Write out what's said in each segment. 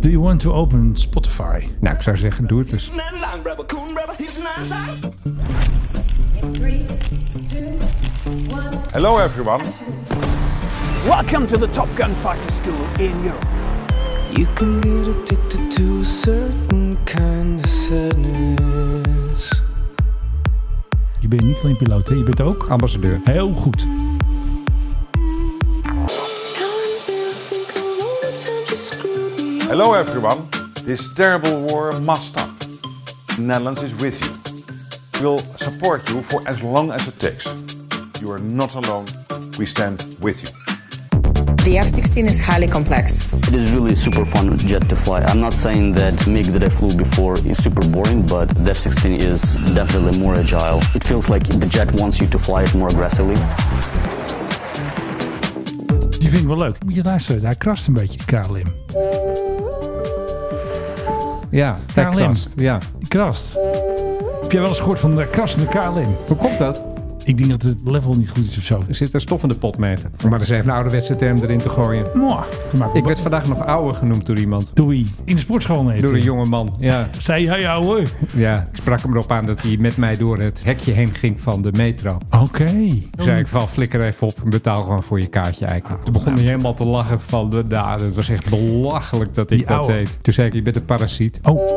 Do you want to open Spotify? Nou, ik zou zeggen, doe het dus. Hello, everyone. Welcome to the Top Gun Fighter School in Europe. You can get addicted to a certain kind of sadness. Je bent niet alleen piloot, hè? je bent ook Ambassadeur. heel goed. Hello, everyone. This terrible war must stop. The Netherlands is with you. We'll support you for as long as it takes. You are not alone. We stand with you. The F-16 is highly complex. It is really super fun jet to fly. I'm not saying that MiG that I flew before is super boring, but the F-16 is definitely more agile. It feels like the jet wants you to fly it more aggressively. Die vind ik wel leuk. Moet je luisteren, hij krast een beetje, die KLM. Ja, hij KLM. krast. Ja. Die krast. Heb jij wel eens gehoord van de krassende KLM? Hoe komt dat? Ik denk dat het level niet goed is of zo. Er zit een stoffende potmeter. Om maar eens even een ouderwetse term erin te gooien. Mwah. Gemaakt Ik werd vandaag nog ouder genoemd door iemand. Doei. In de sportschool net. Door een jonge man. Ja, Zei hij jou hoor. ja. Ik sprak hem erop aan dat hij met mij door het hekje heen ging van de metro. Oké. Toen zei ik van flikker even op en betaal gewoon voor je kaartje Nou. eigenlijk. Toen begon hij helemaal te lachen van, de, nou, dat was echt belachelijk dat ik Die dat ouwe. deed. Toen zei ik, je bent een parasiet. Oh.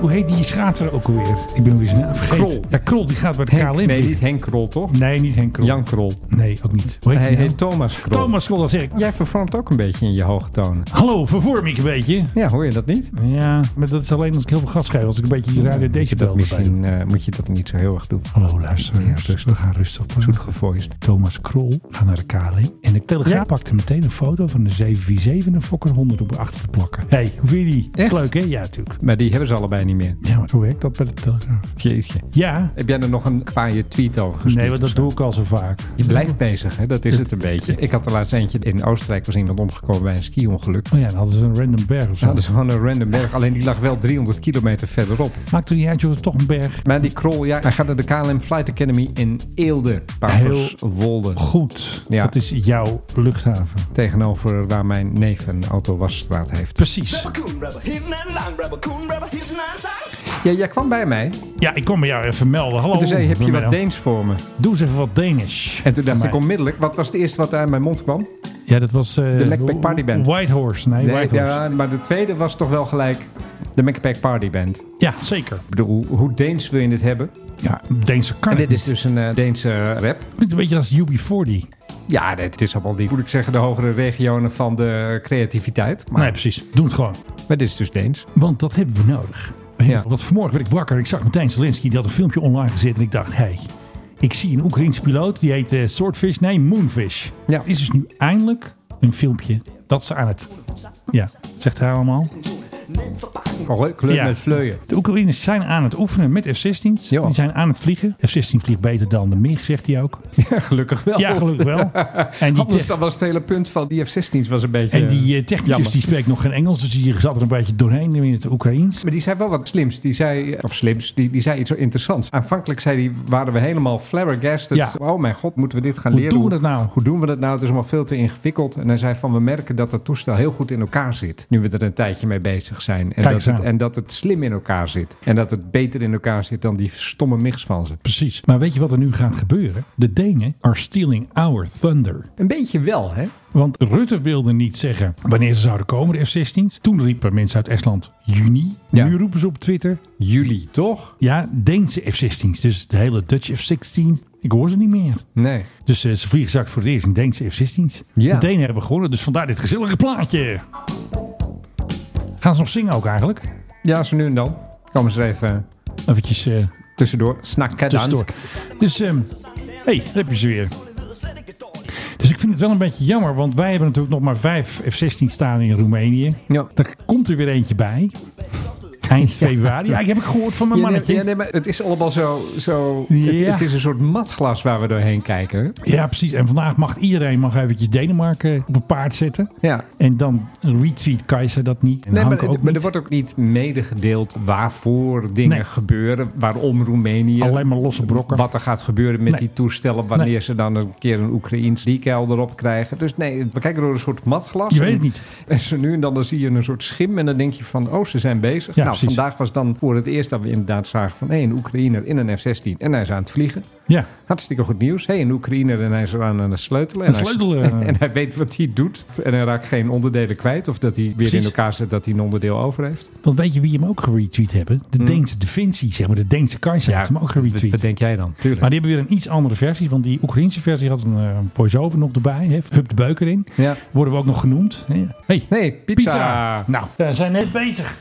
Hoe heet die schaatser ook alweer? Ik ben weer zijn naam vergeten. Krol. Ja, Krol, die gaat bij de Henk, KLM. nee, niet Henk Krol toch? Nee, niet Henk Krol. Jan Krol. Nee, ook niet. Hoe heet Hij die nou? heet Thomas Krol. Thomas Krol, dat zeg ik. Jij vervormt ook een beetje in je hoge tonen. Hallo, vervorm ik een beetje. Ja, hoor je dat niet? Ja, maar dat is alleen als ik heel veel gas geef. Als ik een beetje die radio Moet je decibel dat erbij doe. misschien eh, moet je dat niet zo heel erg doen. Hallo luisteraars, Ja, rustig. we gaan rustig Zoet praten. gevoiced. Thomas Krol gaat naar de KLM. En de Telegraaf Ja. pakte meteen een foto van de 747 en een Fokker 100 om erachter te plakken. Hé, hey, hoe vind je die? Is Echt? Leuk hè? Ja, natuurlijk. Maar die hebben ze allebei niet meer. Ja, maar hoe werkt dat bij de Telegraaf? Jeetje. Ja, Heb jij er nog een kwaaie tweet over gestuurd? nee, want dat of zo? doe ik al zo vaak. Je blijft bezig, hè? dat is het een beetje. Ik had er laatst eentje in Oostenrijk, was iemand omgekomen bij een ski-ongeluk. Oh ja, dan hadden ze een random berg of zo. Ze hadden ze gewoon een random berg, alleen die lag wel 300 kilometer verderop. Maakt er niet uit, joh, het is toch een berg. Maar die krol, ja, hij gaat naar de KLM Flight Academy in Eelde, Paterswolde. Goed, Ja. dat is jouw luchthaven. Tegenover waar mijn neef een autowasstraat heeft. Precies. Ja, jij kwam bij mij Ja, ik kwam bij jou even melden. Hallo. en toen zei je, heb je wat Goedemiddag. Deens voor me? Doe eens even wat Danish. En toen dacht Voor ik mij. onmiddellijk, wat was het eerste wat uit mijn mond kwam? Ja, dat was... eh, De Macpac Party Band. White Horse. Nee, Nee, White Horse. ja, maar de tweede was toch wel gelijk de Macpac Party Band. Ik Ja, zeker. bedoel, hoe- hoe Deens wil je dit hebben? Ja, Deense kan En het dit is niet. dus een eh, Deense rap. Klinkt een beetje als UB40. Ja, dit is allemaal die, moet ik zeggen, de hogere regionen van de creativiteit. Maar, Nee, precies. Doe het gewoon. maar dit is dus Deens. Want dat hebben we nodig. Ja. Want vanmorgen werd ik wakker en ik zag meteen Zelensky. Die had een filmpje online gezet en ik dacht, hé, hey, ik zie een Oekraïense piloot. Die heet eh, Swordfish, nee, Moonfish. Ja. Er is dus nu eindelijk een filmpje dat ze aan het... Ja, zegt hij allemaal. Oh, Leuk, leuk Ja. met vleuien. De Oekraïners zijn aan het oefenen met F-16's. Ja. Die zijn aan het vliegen. F-16 vliegt beter dan de MiG, zegt hij ook. Ja, gelukkig wel. Ja, gelukkig wel. En die, Oh. Anders tech- dan was het hele punt van die F-16's was een beetje... en die eh, eh, technicus jammer. die spreekt nog geen Engels. Dus die zat er een beetje doorheen in het Oekraïens. Maar die zei wel wat slims. Die zei, eh, of slims, die, die zei iets zo interessants. Aanvankelijk zei die, waren we helemaal flabbergasted. Ja. Oh mijn god, moeten we dit gaan Hoe leren? doen we dat nou? Hoe doen we dat nou? Het is allemaal veel te ingewikkeld. En hij zei van, we merken dat dat toestel heel goed in elkaar zit. Nu we er een tijdje mee bezig zijn. En, Kijk dat eens het, aan. en dat het slim in elkaar zit. En dat het beter in elkaar zit dan die stomme mix van ze. Precies. Maar weet je wat er nu gaat gebeuren? De Denen are stealing our thunder. Een beetje wel, hè? Want Rutte wilde niet zeggen wanneer ze zouden komen, de F-16's. Toen riepen mensen uit Estland juni. Ja. Nu roepen ze op Twitter, Jullie, toch? ja, Deense F-16's. Dus de hele Dutch F-16's. Ik hoor ze niet meer. Nee. Dus eh, ze vliegen straks voor het eerst in Deense F-16's. Ja. De Denen hebben gewonnen, dus vandaar dit gezellige plaatje. Gaan ze nog zingen ook eigenlijk? Ja, zo nu en dan. Komen ze er even Eventjes eh tussendoor. Snakken, tussendoor. Dus, ehm hey, daar heb je ze weer. Dus ik vind het wel een beetje jammer, want wij hebben natuurlijk nog maar vijf F-16 staan in Roemenië. Ja. Daar komt er weer eentje bij. Eind februari. Ja, ik heb ik gehoord van mijn Ja, nee, mannetje. ja, nee, maar het is allemaal zo... zo het, Ja. het is een soort matglas waar we doorheen kijken. Ja, precies. En vandaag mag iedereen mag eventjes Denemarken op een paard zetten. Ja. En dan retweet Keizer dat niet. En Nee, maar, Hanke ook maar er niet. wordt ook niet medegedeeld waarvoor dingen Nee. gebeuren. Waarom Roemenië... Alleen maar losse brokken. Wat er gaat gebeuren met Nee. die toestellen... wanneer Nee. ze dan een keer een Oekraïns decal erop krijgen. Dus nee, we kijken door een soort matglas. Je weet het En- niet. En zo nu en dan, dan zie je een soort schim en dan denk je van, oh, ze zijn bezig. Ja, nou, precies. vandaag was dan voor het eerst dat we inderdaad zagen van, hé, een Oekraïner in een F-16 en hij is aan het vliegen. Ja. Hartstikke goed nieuws. Hé, een Oekraïner en hij is eraan aan het sleutelen. Een En hij- sleutel, eh. en hij weet wat hij doet. En hij raakt geen onderdelen kwijt. Of dat hij weer Precies. in elkaar zet dat hij een onderdeel over heeft. Want weet je wie hem ook geretweet hebben? Hmm? De Deense Defensie, zeg maar. De Deense Keizer heeft hem ook wat, wat geretweet. denk jij dan? Tuurlijk. Maar die hebben weer een iets andere versie. Want die Oekraïnse versie had een eh, voice-over nog erbij. Hè. Hup de beuker in. Ja. Worden we ook nog genoemd. Hé, hey, Nee, pizza. pizza. Nou, we zijn net bezig.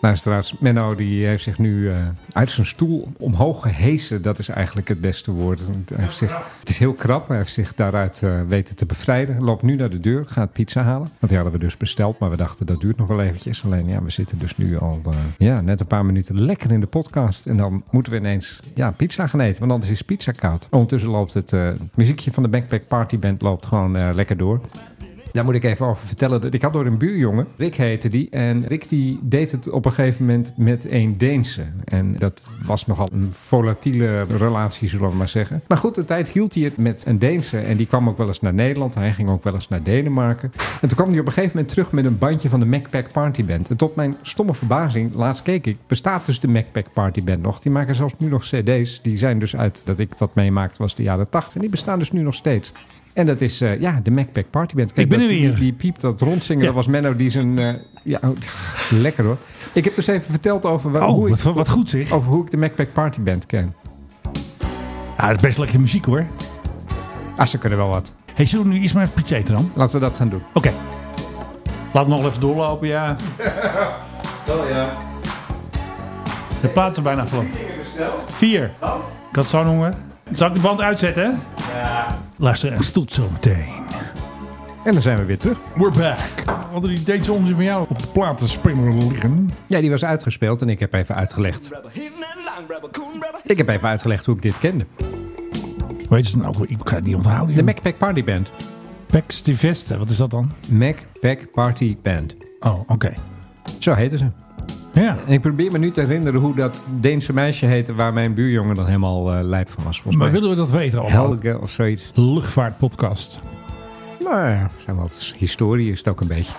Luisteraars, Menno die heeft zich nu eh, uit zijn stoel omhoog gehesen. Dat is eigenlijk het beste woord. Want Hij heeft zich, het is heel krap, maar hij heeft zich daaruit eh, weten te bevrijden. Loopt nu naar de deur, gaat pizza halen. Want die hadden we dus besteld, maar we dachten dat duurt nog wel eventjes. Alleen ja, we zitten dus nu al eh, ja, net een paar minuten lekker in de podcast. En dan moeten we ineens ja, pizza gaan eten, want anders is pizza koud. Ondertussen loopt het eh, muziekje van de Backpack Party Band loopt gewoon eh, lekker door. Daar moet ik even over vertellen. dat Ik had door een buurjongen, Rick heette die. En Rick die deed het op een gegeven moment met een Deense. En dat was nogal een volatiele relatie, zullen we maar zeggen. Maar goed, de tijd hield hij het met een Deense. En die kwam ook wel eens naar Nederland. Hij ging ook wel eens naar Denemarken. En toen kwam hij op een gegeven moment terug met een bandje van de Macpack Party Band. En tot mijn stomme verbazing, laatst keek ik, bestaat dus de Macpack Party Band nog. Die maken zelfs nu nog cd's. Die zijn dus uit, dat ik dat meemaakte, was de jaren 80. En die bestaan dus nu nog steeds. En dat is eh, ja, de Macpack Party Band. Ik ben er dat weer. die- Die piep, dat rondzingen, dat was Menno die zijn... eh, ja, oh, lekker hoor. Ik heb dus even verteld over, wa- Oh, hoe, wat, ik, wat goed zeg. over hoe ik de Macpack Party Band ken. Ja, Ah, dat is best lekkere muziek hoor. Ah, ze kunnen wel wat. Hey, zullen we nu eerst maar pizza eten dan? Laten we dat gaan doen. Oké. Laat nog even doorlopen, ja. De plaat is bijna vol. Vier. Ik had zo'n honger. Zal ik de band uitzetten? Ja. Luister, en stoelt zo meteen. En dan zijn we weer terug. We're back. Wat er die deze onzin van jou op de plaat te springen liggen. Ja, die was uitgespeeld en ik heb even uitgelegd. Ik heb even uitgelegd hoe ik dit kende. Weet je het nou ook? Ik kan het niet onthouden. De joh. Macpack Party Band. Pax de Veste, wat is dat dan? Macpack Party Band. Oh, oké. Zo heten ze. Ja. En ik probeer me nu te herinneren hoe dat Deense meisje heette... waar mijn buurjongen dan helemaal eh, lijp van was. Volgens Maar mij willen we dat weten allemaal? Helge of zoiets. Luchtvaartpodcast. Maar ja, zijn wat historie is het ook een beetje.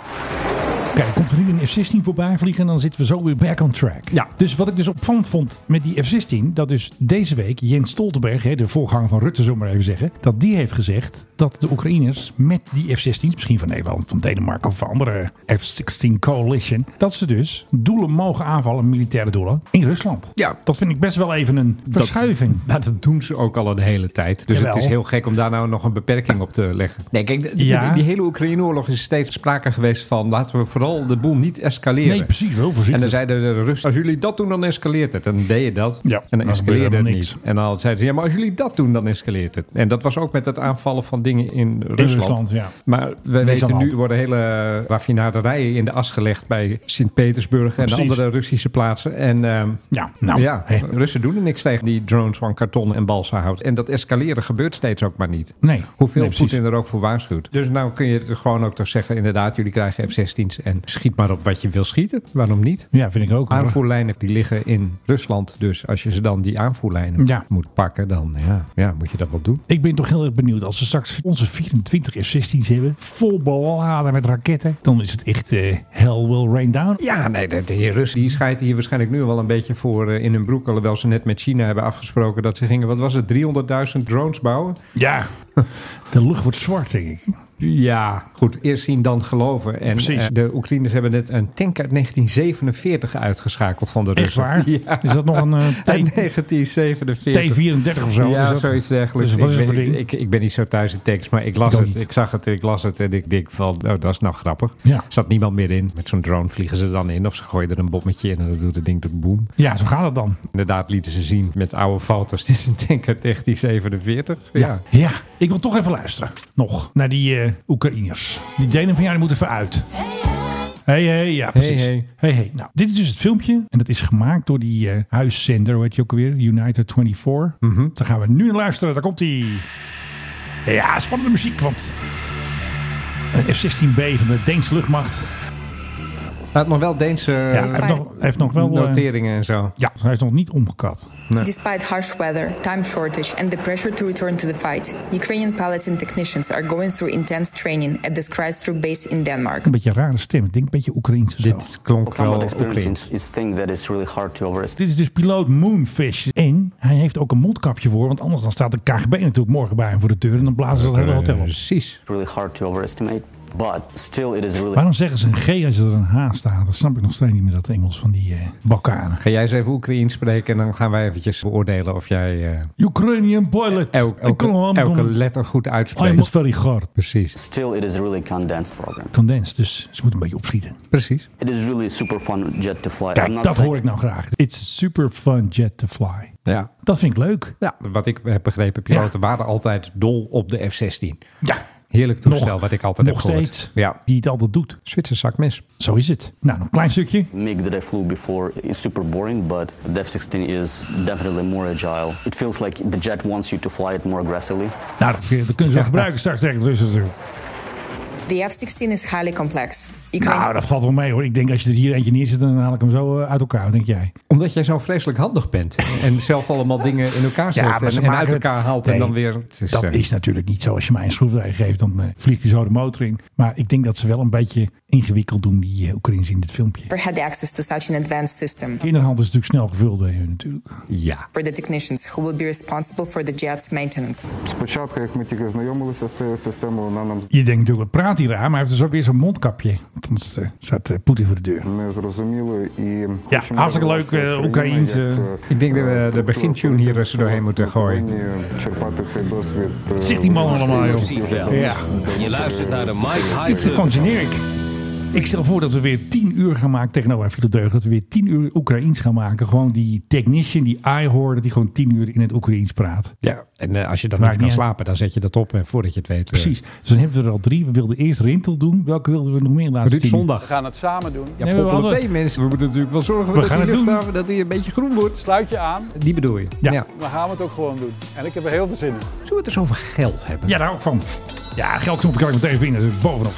Kijk, er komt er nu een F-16 voorbij vliegen en dan zitten we zo weer back on track. Ja. Dus wat ik dus opvallend vond met die F-16, dat dus deze week Jens Stoltenberg, hè, de voorganger van Rutte, zullen we maar even zeggen, dat die heeft gezegd dat de Oekraïners met die F-16, misschien van Nederland, van Denemarken of van andere F-16 coalition, dat ze dus doelen mogen aanvallen, militaire doelen, in Rusland. Ja. Dat vind ik best wel even een verschuiving. Maar Nou, dat doen ze ook al een hele tijd. Dus Jawel. het is heel gek om daar nou nog een beperking op te leggen. Nee, kijk, d- Ja. die, die hele Oekraïne-oorlog is steeds sprake geweest van... laten we vooral de boel niet escaleren. Nee, precies, wel voorzichtig. En dan zeiden de Russen, als jullie dat doen, dan escaleert het. En dan deed je dat. Ja, en dan dan gebeurde escaleerde het helemaal niet. En dan zeiden ze, ja, maar als jullie dat doen, dan escaleert het. En dat was ook met het aanvallen van dingen in Rusland. Rusland, ja. Maar we aan de weten hand. nu, er worden hele raffinaderijen in de as gelegd... bij Sint-Petersburg en Precies. andere Russische plaatsen. En... ehm, Ja, nou. ja, hè. Russen doen er niks tegen die drones van karton en balsahout. En dat escaleren gebeurt steeds ook maar niet. Nee. Hoeveel Nee, precies. Poetin er ook voor waarschuwt. Dus nou kun je er gewoon ook toch zeggen... inderdaad, jullie krijgen F-16's en schiet maar op wat je wil schieten. Waarom niet? Ja, vind ik ook. hoor. Aanvoerlijnen die liggen in Rusland. Dus als je ze dan die aanvoerlijnen Ja. moet pakken... dan ja, ja, moet je dat wel doen. Ik ben toch heel erg benieuwd. Als we straks onze 24 F-16's hebben, vol beladen met raketten, dan is het echt eh, hell will rain down. Ja, nee, de, de heer Russen die scheidt hier waarschijnlijk nu wel een beetje voor eh, in hun broek. Alhoewel ze net met China hebben afgesproken dat ze gingen... wat was het, 300.000 drones bouwen? Ja. De lucht wordt zwart, denk ik. Ja, goed. Eerst zien, dan geloven. En Precies. eh, de Oekraïners hebben net een tank uit 1947 uitgeschakeld van de Echt Russen. waar? Ja. Is dat nog een eh, Uit T- 1947. T-34 of zo? Is Ja, dat- zoiets dergelijks. Dus wat is ik, het voor ben, ding? ik, ik ben niet zo thuis in tekst, maar ik las Ik ook het. niet. Ik zag het, ik las het en ik denk van, oh, dat is nou grappig. Ja. Zat niemand meer in. Met zo'n drone vliegen ze dan in of ze gooien er een bommetje in en dan doet het ding tot boom. Ja, zo gaat het dan. Inderdaad lieten ze zien met oude foto's. Dit is een tank uit 1947. ja. Ja, ik wil toch even luisteren. Nog naar die eh Oekraïners. Die Denen van jou die moeten even uit. Hey, hey, ja, Hey, precies. hey. Hey, hey. Nou, dit is dus het filmpje. En dat is gemaakt door die eh, huiszender, hoe heet je ook alweer? United 24. Daar gaan we nu naar luisteren. Daar komt hij. Ja, spannende muziek, want... Een F-16B van de Deense luchtmacht. Hij had nog wel Deense Ja, hij heeft nog, hij heeft nog wel... eh, noteringen en zo. ja, hij is nog niet omgekat. Despite harsh weather, time shortage, and the pressure to return to the fight, Ukrainian pilots and technicians are going through intense training at the Skrydstrup base in Denmark. Een beetje een rare stem. Ik denk een beetje Oekraïens of zo. Dit klonk Combat wel experience Oekraïens. is, is thing that is really hard to overestimate. Dit is dus piloot Moonfish. En hij heeft ook een mondkapje voor. Want anders dan staat de KGB natuurlijk morgen bij hem voor de deur. En dan blazen ze het hele hotel Eh, op. Precies. Really hard to overestimate. But still, it is really Waarom zeggen ze een G als er een H staat? Dat snap ik nog steeds niet meer, dat Engels van die eh Balkanen. Ga jij eens even Oekraïens spreken en dan gaan wij eventjes beoordelen of jij eh, Ukrainian pilot. elk- Ik kan Eh, elke, hem elke doen. Oh, letter goed I'm uitspreekt. very hard. Precies. still it is a really condensed program. Condens, dus ze moeten een beetje opschieten. Precies. It is really super fun jet to fly. I'm Kijk, not dat saying- hoor ik nou graag. It's a super fun jet to fly. Ja. Dat vind ik leuk. ja. Wat ik heb begrepen, piloten waren altijd dol op de F-16. Ja. Heerlijk toestel wat ik altijd nog heb gehoord. steeds. Ja. Die het altijd doet. Zwitser zakmes. Zo is het. Nou, nog een klein stukje. MiG that I flew before is super boring, but the F-16 is definitely more agile. It feels like the jet wants you to fly it more aggressively. Nou, dat, dat kunnen ze wel gebruiken straks tegen de Russen. natuurlijk. The F-16 is highly complex. Nou, Ukraine dat valt wel mee hoor. Ik denk als je er hier eentje neerzet, dan haal ik hem zo eh, uit elkaar. Wat denk jij? Omdat jij zo vreselijk handig bent. En zelf allemaal dingen in elkaar zet eh, en, en uit elkaar haalt. en dan weer, het is, dat eh, is natuurlijk niet zo. Als je mij een schroefdraaier geeft, dan eh, vliegt hij zo de motor in. Maar ik denk dat ze wel een beetje ingewikkeld doen, die eh, Oekraïners in dit filmpje. never had access to such an advanced system. Kinderhand is natuurlijk snel gevuld bij hun natuurlijk. ja. For the technicians who will be responsible for the jet's maintenance. Спочатку, як ми тільки знайомилися з цією системою, вона нам Je denkt natuurlijk, wat praat hij raar, maar hij heeft dus ook weer zo'n mondkapje. Want anders eh, staat eh, Poetin voor de deur. не зрозуміло і Ja, hartstikke leuk, eh, Oekraïense. Ik denk dat we de begintune hier eens doorheen moeten gooien. Черпати цей досвід. е, Zegt die man allemaal, joh. Ja. Je luistert naar de Mike Het High is gewoon generic. Ik stel voor dat we weer tien uur gaan maken. Techno en Filo Deugd. Dat we weer tien uur Oekraïens gaan maken. Gewoon die technician, die eye dat die gewoon tien uur in het Oekraïens praat. Ja. En eh, als je dan Maakt niet kan niet uit. slapen, dan zet je dat op en voordat je het weet. eh, Precies. Dus dan hebben we er al drie. We wilden eerst Rintel doen. Welke wilden we nog meer laten Ruud Zondag. We gaan het samen doen. Ja, Nee, we poppen op hadden- thee, mensen. We moeten natuurlijk wel zorgen We dat gaan die het doen. luchthaven dat die een beetje groen wordt. Sluit je aan, Die bedoel je? Ja. maar gaan we het ook gewoon doen. En ik heb er heel veel zin in. Zullen we het eens over geld hebben? Ja, daar ook van. Ja, geldknoppen kan ik meteen vinden. Dat is bovenop.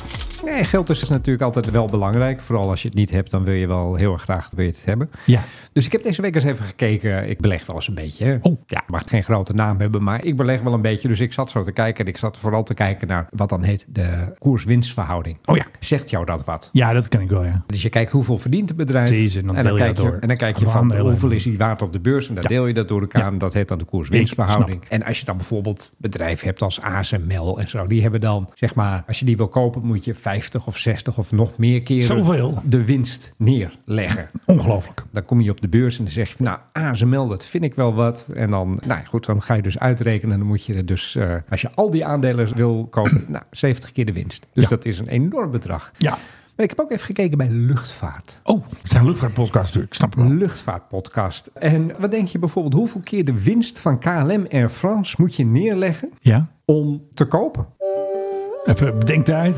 Nee, geld is natuurlijk altijd wel belangrijk. Vooral als je het niet hebt, dan wil je wel heel erg graag wil je het hebben. Ja. Dus ik heb deze week eens even gekeken. Ik beleg wel eens een beetje. hè. Oh. Ja, mag geen grote naam hebben, maar ik beleg wel een beetje. Dus ik zat zo te kijken en ik zat vooral te kijken naar wat dan heet de koers-winstverhouding. Oh ja. Zegt jou dat wat? Ja, dat kan ik wel, ja. Dus je kijkt hoeveel verdient het bedrijf. Precies, en dan deel je kijk dat je, door. En dan kijk je Aan de van aandelen. hoeveel is die waard op de beurs. En dan deel je dat door elkaar. En dat heet dan de koers-winstverhouding. En als je dan bijvoorbeeld bedrijven hebt als ASML en zo. Die hebben dan, zeg maar, als je die wil kopen moet je 50 of 60 of nog meer keren Zoveel. de winst neerleggen. Ongelooflijk. Dan kom je op de beurs en dan zeg je van, nou, ASML, dat vind ik wel wat. En dan, nou ja, goed, dan ga je dus uitrekenen. Dan moet je er dus, eh, als je al die aandelen wil kopen, nou, 70 keer de winst. Dus Ja. dat is een enorm bedrag. Ja. Maar ik heb ook even gekeken bij luchtvaart. Oh, het zijn luchtvaartpodcasts natuurlijk. Ik snap het wel. Luchtvaartpodcast. En wat denk je bijvoorbeeld, hoeveel keer de winst van KLM Air France moet je neerleggen Ja. om te kopen? Even bedenktijd.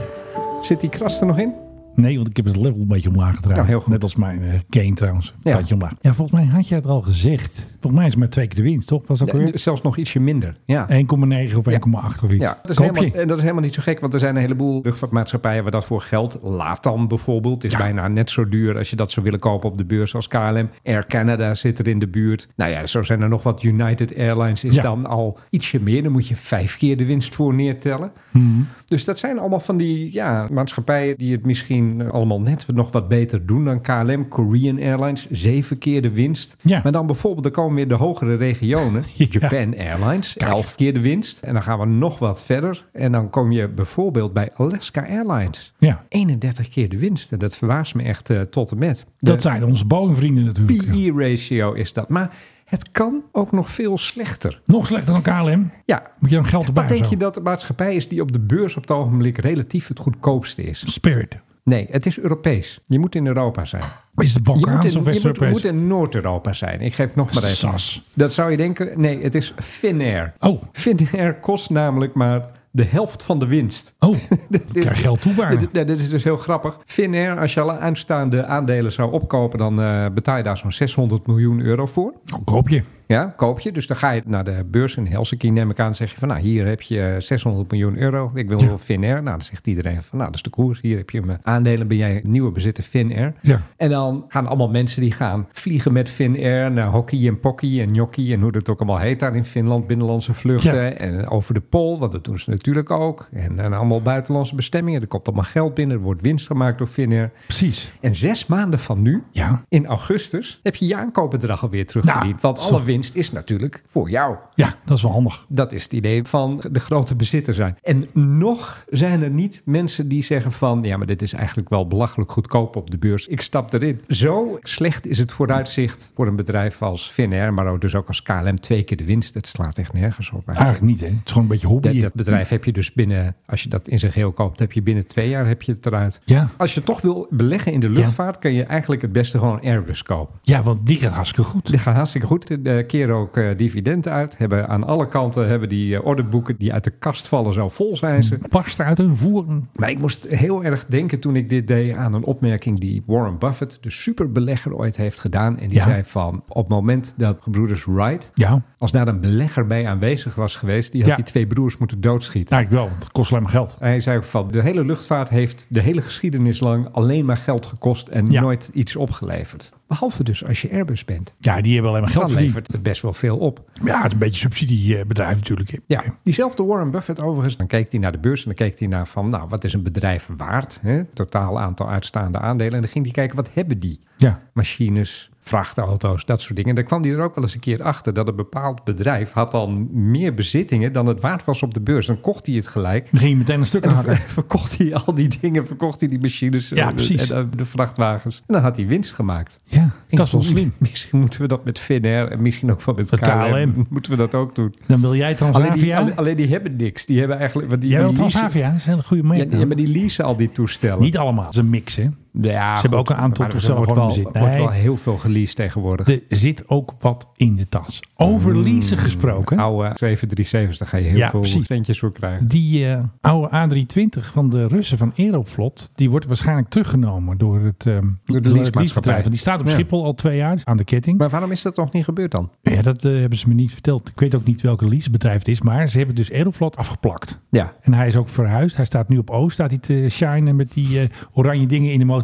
Zit die kras er nog in? Nee, want ik heb het level een beetje omlaag gedraaid. Nou, heel goed. Net als mijn eh gain trouwens. Een Ja. beetje omlaag. Ja, volgens mij had je het al gezegd. Volgens mij is het maar twee keer de winst, toch? Was dat weer? 1,9 Zelfs nog ietsje minder. Ja. of 1,8 of iets. Ja, dat is Koop je. helemaal, en dat is helemaal niet zo gek, want er zijn een heleboel luchtvaartmaatschappijen waar dat voor geld Latam bijvoorbeeld is bijna net zo duur als je dat zou willen kopen op de beurs als KLM. Air Canada zit er in de buurt. Nou ja, zo zijn er nog wat. United Airlines is Ja. dan al ietsje meer. Dan moet je vijf keer de winst voor neertellen. Mhm. Dus dat zijn allemaal van die ja, maatschappijen die het misschien eh, allemaal net nog wat beter doen dan KLM. Korean Airlines, zeven keer de winst. Ja. Maar dan bijvoorbeeld, er komen weer de hogere regionen. Ja. Japan Airlines, elf keer de winst. En dan gaan we nog wat verder. En dan kom je bijvoorbeeld bij Alaska Airlines. Ja. 31 keer de winst. En dat verbaast me echt eh, tot en met. De Dat zijn onze Boeing-vrienden natuurlijk. PE-ratio is dat. Maar het kan ook nog veel slechter. Nog slechter dan KLM. Ja, Moet je dan geld erbij wat denk zo? je dat de maatschappij is die op de beurs op het ogenblik relatief het goedkoopste is? Spirit. Nee, het is Europees. Je moet in Europa zijn. Is het Je moet Balkaans in, of je moet, West-Europees? moet in Noord-Europa zijn. Ik geef nog maar even. Sas. Dat zou je denken. Nee, het is Finnair. Oh. Finnair kost namelijk maar de helft van de winst. Oh, ik krijg geld toewaarde. Dit, dit is dus heel grappig. Finnair, als je alle aanstaande aandelen zou opkopen, dan eh, betaal je daar zo'n 600 miljoen euro voor. Oh, koop je. Ja, koop je. Dus dan ga je naar de beurs in Helsinki, neem ik aan. en zeg je van, nou, hier heb je eh, 600 miljoen euro. Ik wil Ja. Finnair. Nou, dan zegt iedereen van, nou, dat is de koers. Hier heb je mijn aandelen. Ben jij nieuwe bezitter Finnair? Ja. En dan gaan allemaal mensen die gaan vliegen met Finnair naar hockey en pocky en jockey en hoe dat ook allemaal heet daar in Finland. Binnenlandse vluchten Ja. en over de pol, want dat doen ze natuurlijk ook. En, en allemaal buitenlandse bestemmingen. Er komt allemaal geld binnen. Er wordt winst gemaakt door Finnair. Precies. En zes maanden van nu, Ja. in augustus, heb je je aankoopbedrag alweer terugverdiend. Nou, want zo. alle winst is natuurlijk voor jou. Ja, dat is wel handig. Dat is het idee van de grote bezitter zijn. En nog zijn er niet mensen die zeggen van... ja, maar dit is eigenlijk wel belachelijk goedkoop op de beurs. Ik stap erin. Zo slecht is het vooruitzicht voor een bedrijf als Finnair... maar ook dus ook als KLM twee keer de winst. Dat slaat echt nergens op. eigenlijk. Eigenlijk niet, hè? Het is gewoon een beetje hobby. Dat, dat bedrijf heb je dus binnen, als je dat in zijn geheel koopt, heb je binnen twee jaar heb je het eruit. Ja. Als je toch wil beleggen in de luchtvaart, kun je eigenlijk het beste gewoon Airbus kopen. Ja, want die gaat hartstikke goed. Die gaan hartstikke goed. De keren ook eh, dividenden uit. Hebben aan alle kanten hebben die eh, orderboeken die uit de kast vallen, zo vol zijn ze. Barst uit hun voeren. Maar ik moest heel erg denken toen ik dit deed aan een opmerking die Warren Buffett, de superbelegger, ooit heeft gedaan. En die Ja. zei van, op het moment dat gebroeders Wright, Ja. als daar een belegger bij aanwezig was geweest, die had Ja. die twee broers moeten doodschieten. Nou, ik wel, want het kost alleen maar geld. Hij zei ook van, de hele luchtvaart heeft de hele geschiedenis lang alleen maar geld gekost en Ja. nooit iets opgeleverd. Behalve dus als je Airbus bent. Ja, die hebben alleen maar geld Dan verdiend. levert het best wel veel op. Ja, het is een beetje een subsidiebedrijf natuurlijk. Ja, diezelfde Warren Buffett overigens. Dan keek hij naar de beurs en dan keek hij naar van, nou, wat is een bedrijf waard? Hè? Totaal aantal uitstaande aandelen. En dan ging hij kijken, wat hebben die? Ja. Machines, vrachtauto's, dat soort dingen. En dan kwam hij er ook wel eens een keer achter dat een bepaald bedrijf had dan meer bezittingen dan het waard was op de beurs. Dan kocht hij het gelijk. Dan ging je meteen een stuk aan En verkocht hij al die dingen, verkocht hij die machines Ja, eh, precies. en eh, de vrachtwagens. En dan had hij winst gemaakt. Ja, dat is wel Ik vond, slim. Misschien moeten we dat met Finnair en misschien ook wel met Met KLM. KLM. Moeten we dat ook doen. Dan wil jij Alleen die, Transavia. alleen, alleen die hebben niks. Die hebben eigenlijk... want Die, Jij wil die leasen- Transavia, dat is een hele goede Ja, merk. ja, maar die leasen al die toestellen. Niet allemaal, het is een mix, hè? ja, hebben ook een aantal maar er toestellen wordt gewoon wel, in bezit. wordt Nee. wel heel veel geleased tegenwoordig. Er zit ook wat in de tas. Over leasen gesproken. Oude 737's, daar ga je heel Ja, veel precies. centjes voor krijgen. Die eh, oude A320 van de Russen van Aeroflot, die wordt waarschijnlijk teruggenomen door het ehm, door het leasemaatschappij. leasebedrijf. Want die staat op Ja. Schiphol al twee jaar aan de ketting. Maar waarom is dat nog niet gebeurd dan? ja, dat eh, hebben ze me niet verteld. Ik weet ook niet welke leasebedrijf het is, maar ze hebben dus Aeroflot afgeplakt. Ja, En hij is ook verhuisd. Hij staat nu op Oost, staat hij te shinen met die eh, oranje dingen in de motoren.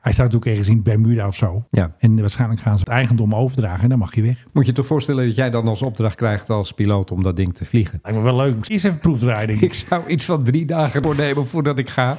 Hij staat ook ergens in Bermuda of zo. Ja. En waarschijnlijk gaan ze het eigendom overdragen en dan mag je weg. moet je toch voorstellen dat jij dan als opdracht krijgt als piloot om dat ding te vliegen. Lijkt me wel leuk. Eerst even proefdraaien, denk Ik ik. zou iets van drie dagen doornemen voordat ik ga.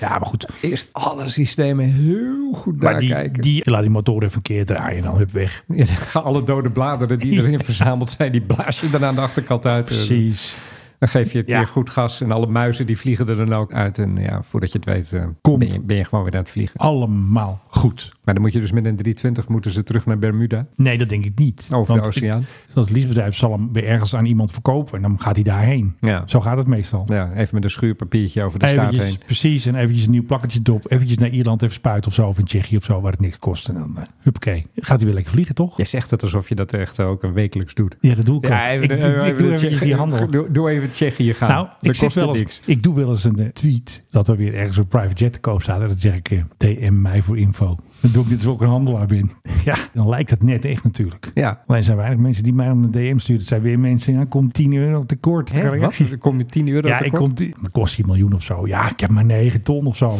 Ja, maar goed. Eerst alle systemen heel goed Maar die, nakijken. die, laat die motoren even een keer draaien en dan hup weg. Ja, dan gaan alle dode bladeren die erin verzameld zijn, die blaas je dan aan de achterkant uit. Precies. Dan geef je het Ja. weer goed gas en alle muizen die vliegen er dan ook uit. En ja, voordat je het weet, eh, Komt. Ben, je, ben je gewoon weer aan het vliegen. Allemaal goed. Maar dan moet je dus met een 320 moeten ze terug naar Bermuda. Nee, dat denk ik niet. Over de Want oceaan. ik- Dat leasebedrijf zal hem weer ergens aan iemand verkopen en dan gaat hij daarheen. Ja. Zo gaat het meestal. Ja, even met een schuurpapiertje over de staat Eventjes, heen. precies, en eventjes een nieuw plakketje erop. Eventjes naar Ierland even spuiten of zo, of in Tsjechië of zo, waar het niks kost. En dan, eh huppakee, gaat hij weer lekker vliegen, toch? Je zegt het alsof je dat echt eh, ook een wekelijks doet. Ja, dat doe ik ook. Ja, even- ik, ik- ik even doe de eventjes Tsjechië- die handel. Doe, doe even Tsjechië gaan. Nou, ik, dat zit kost wel niks. eens, ik doe wel eens een eh, tweet dat er weer ergens een private jet te koop staat. En dan zeg ik, eh, DM mij voor info. Dan doe ik dit zo ook een handelaar bin. Ja, dan lijkt het net echt natuurlijk. Ja. Alleen zijn weinig mensen die mij om een DM sturen. Het zijn weer mensen, ja, komt 10 euro tekort. Hè, Kan ik- wat? Dus Dan Kom je 10 euro Ja, ik tekort? kom, die- dan kost hij een miljoen of zo. Ja, ik heb maar 9 ton of zo.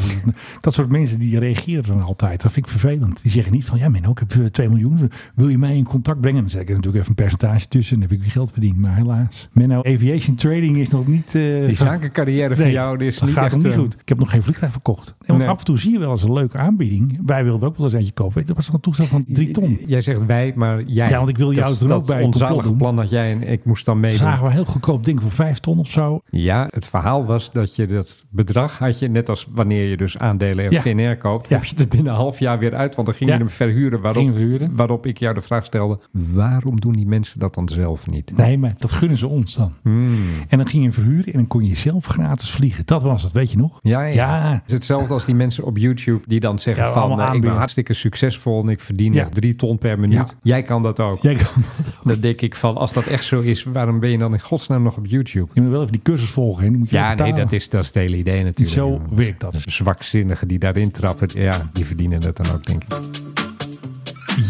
Dat soort mensen die reageren dan altijd. Dat vind ik vervelend. Die zeggen niet van, ja Menno, ik heb eh, 2 miljoen. Wil je mij in contact brengen? Dan zeg ik er natuurlijk even een percentage tussen. Dan heb ik weer geld verdiend. Maar helaas. Menno, aviation trading is nog niet... eh, Die zakencarrière van jou die is dat niet gaat echt... nog niet eh, goed. Ik heb nog geen vliegtuig verkocht. En want Nee. af en toe zie je wel eens een leuke aanbieding. Wij wilden ook wel eens eentje kopen. Weet je, Dat was toch een toestel van 3 ton. Jij zegt wij, maar jij. Ja, want ik wil jou dat, er ook dat bij een complot onzalig doen. plan dat jij en ik moest dan meedoen. Zagen we een heel goedkoop ding voor 5 ton of zo. Ja, het verhaal was dat je dat bedrag had je, net als wanneer je dus aandelen Ja. in Finnair koopt, Ja. heb je het binnen een half jaar weer uit, want dan ging Ja. je hem verhuren waarop, Ging verhuren. waarop ik jou de vraag stelde, waarom doen die mensen dat dan zelf niet? Nee, maar dat gunnen ze ons dan. Hmm. En dan ging je verhuren en dan kon je zelf gratis vliegen. Dat was het, weet je nog? Ja, ja. Ja, Het is hetzelfde als die mensen op YouTube die dan zeggen Ja, van, allemaal eh, ik wou ja. hartstikke succesvol en ik verdien Ja. nog drie ton per minuut. Ja. Jij kan dat ook. Jij kan dat ook. Dan denk ik van, als dat echt zo is, waarom ben je dan in godsnaam nog op YouTube? Je moet wel even die cursus volgen. hè. Die moet je Ja, betalen. nee, dat is, dat is het hele idee natuurlijk. Zo jongens. werkt dat. Zwakzinnigen die daarin trappen, ja, die verdienen dat dan ook, denk ik.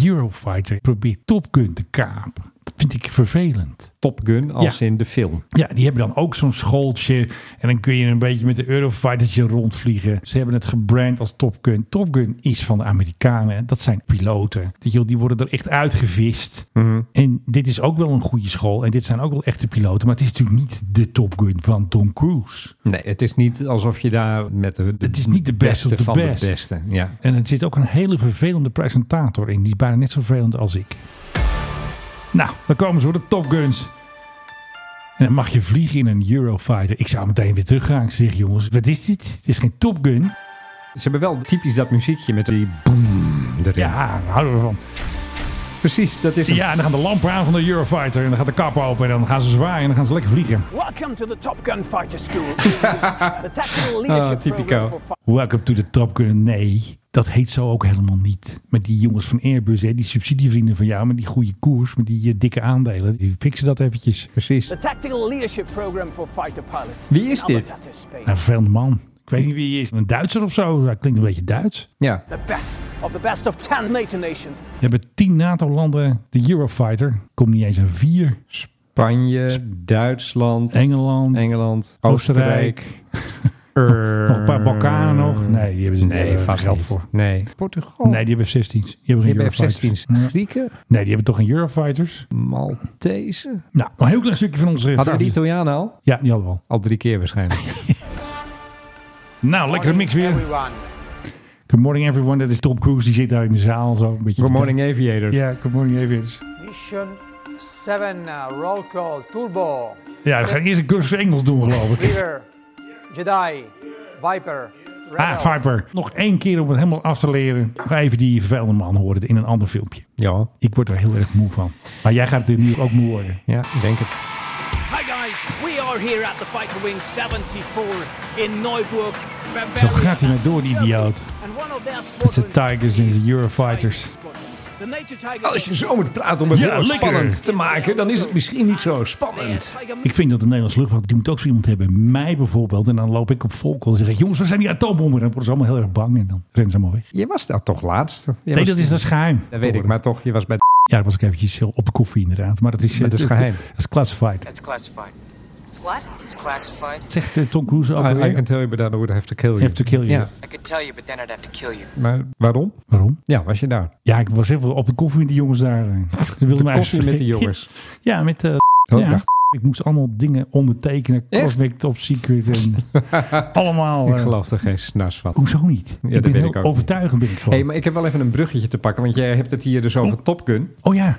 Eurofighter probeert Top Gun te kapen. Dat vind ik vervelend. Top Gun als Ja. in de film. Ja, die hebben dan ook zo'n schooltje. En dan kun je een beetje met de Eurofightertje rondvliegen. Ze hebben het gebrand als Top Gun. Top Gun is van de Amerikanen. Dat zijn piloten. Die, joh, die worden er echt uitgevist. En dit is ook wel een goede school. En dit zijn ook wel echte piloten. Maar het is natuurlijk niet de Top Gun van Tom Cruise. Nee, het is niet alsof je daar met de, de Het is niet de best of beste the van best. de beste. Ja. En er zit ook een hele vervelende presentator in. Die is bijna net zo vervelend als ik. Nou, dan komen ze voor de Top Guns. En dan mag je vliegen in een Eurofighter. Ik zou meteen weer teruggaan. Ik zeg, jongens, wat is dit? Het is geen Top Gun. Ze hebben wel typisch dat muziekje met die boem erin. Ja, daar houden we van. precies. Dat is hem. Ja, en dan gaan de lampen aan van de Eurofighter. En dan gaat de kap open. En dan gaan ze zwaaien. En dan gaan ze lekker vliegen. Welcome to the Top Gun Fighter School. Ah, the tactical leadership typico. program for fi- Welcome to the Top Gun. Nee, dat heet zo ook helemaal niet. Met die jongens van Airbus, hè, die subsidievrienden van jou. Met die goede koers. Met die eh, dikke aandelen. Die fixen dat eventjes. Precies. the tactical leadership program for fighter pilots. Wie is dit? That is Spain. Een vervelende man. Nou, Ik weet niet wie hij is. Een Duitser of zo. Hij klinkt een beetje Duits. Ja. The best of the best of 10 NATO nations. We hebben tien NATO-landen. De Eurofighter. Komt niet eens aan vier. Spanje, Duitsland, Engeland. Engeland, Oostenrijk. Oostenrijk. Nog een paar Balkanen nog. Nee, die hebben ze die hebben er geld voor. Nee. Portugal. Nee, die hebben F-16's. Die hebben Je geen hebt F-16's. Eurofighters. Ja. Grieken, Nee, die hebben toch geen Eurofighters? Maltese. Nou, een heel klein stukje van onze... Hadden we de favoriete- Italianen al? Ja, die hadden we al. Al drie keer waarschijnlijk. Nou, lekkere mix weer. Everyone. Good morning everyone. Dat is Tom Cruise. Die zit daar in de zaal zo. Een beetje Good morning aviators. Ja, good morning even. Mission 7 uh, roll call turbo. Ja, we gaan eerst een cursus Engels doen geloof ik. Reaver, Jedi, Viper, Ah, Viper. Nog één keer om het helemaal af te leren. Nog even die vervelende man horen in een ander filmpje. Ja. Ik word er heel erg moe van. Maar jij gaat er nu ook moe worden. Ja, ik denk het. Hi guys, we are here at the Fighter Wing 74 in Neuburg. Zo gaat hij maar door, die idioot. Met zijn Tigers en zijn Eurofighters. Oh, Als je zo moet praten om het Ja, heel erg lekker. spannend te maken, dan is het misschien niet zo spannend. Ik vind dat de Nederlandse luchtvaart, die moet ook zo iemand hebben. Mij bijvoorbeeld. En dan loop ik op volk en zeg ik, jongens, we zijn die atoombommen. Dan worden ze allemaal heel erg bang en dan rennen ze allemaal weg. Je was daar toch laatst? Jij Nee, was- dat is, Ah, dat is geheim. Dat weet ik, maar toch, je was bij Ja, dat was ik eventjes heel op de koffie inderdaad. Maar dat is, Maar dat is eh, geheim. Dat is classified. It's classified. It's what? It's classified. Dat zegt eh, Tom Cruise ook I, I alweer. can tell you, but I would have to kill you. Have to kill you. Ja, I could tell you, but then I'd have to kill you. maar waarom? Waarom? Ja, was je daar? Ja, ik was even op de koffie met die jongens daar. Ze wilden mij Koffie met de spreken. jongens. Ja, met eh, Oh, ja. ik dacht, Ik moest allemaal dingen ondertekenen. Echt? Cosmic Top Secret en allemaal. ik eh, geloof er geen snas van. Hoezo niet? dat ik ben weet heel ik ook overtuigend ben ik gewoon. hey, maar ik heb wel even een bruggetje te pakken, want jij hebt het hier dus over Top Gun. Oh ja.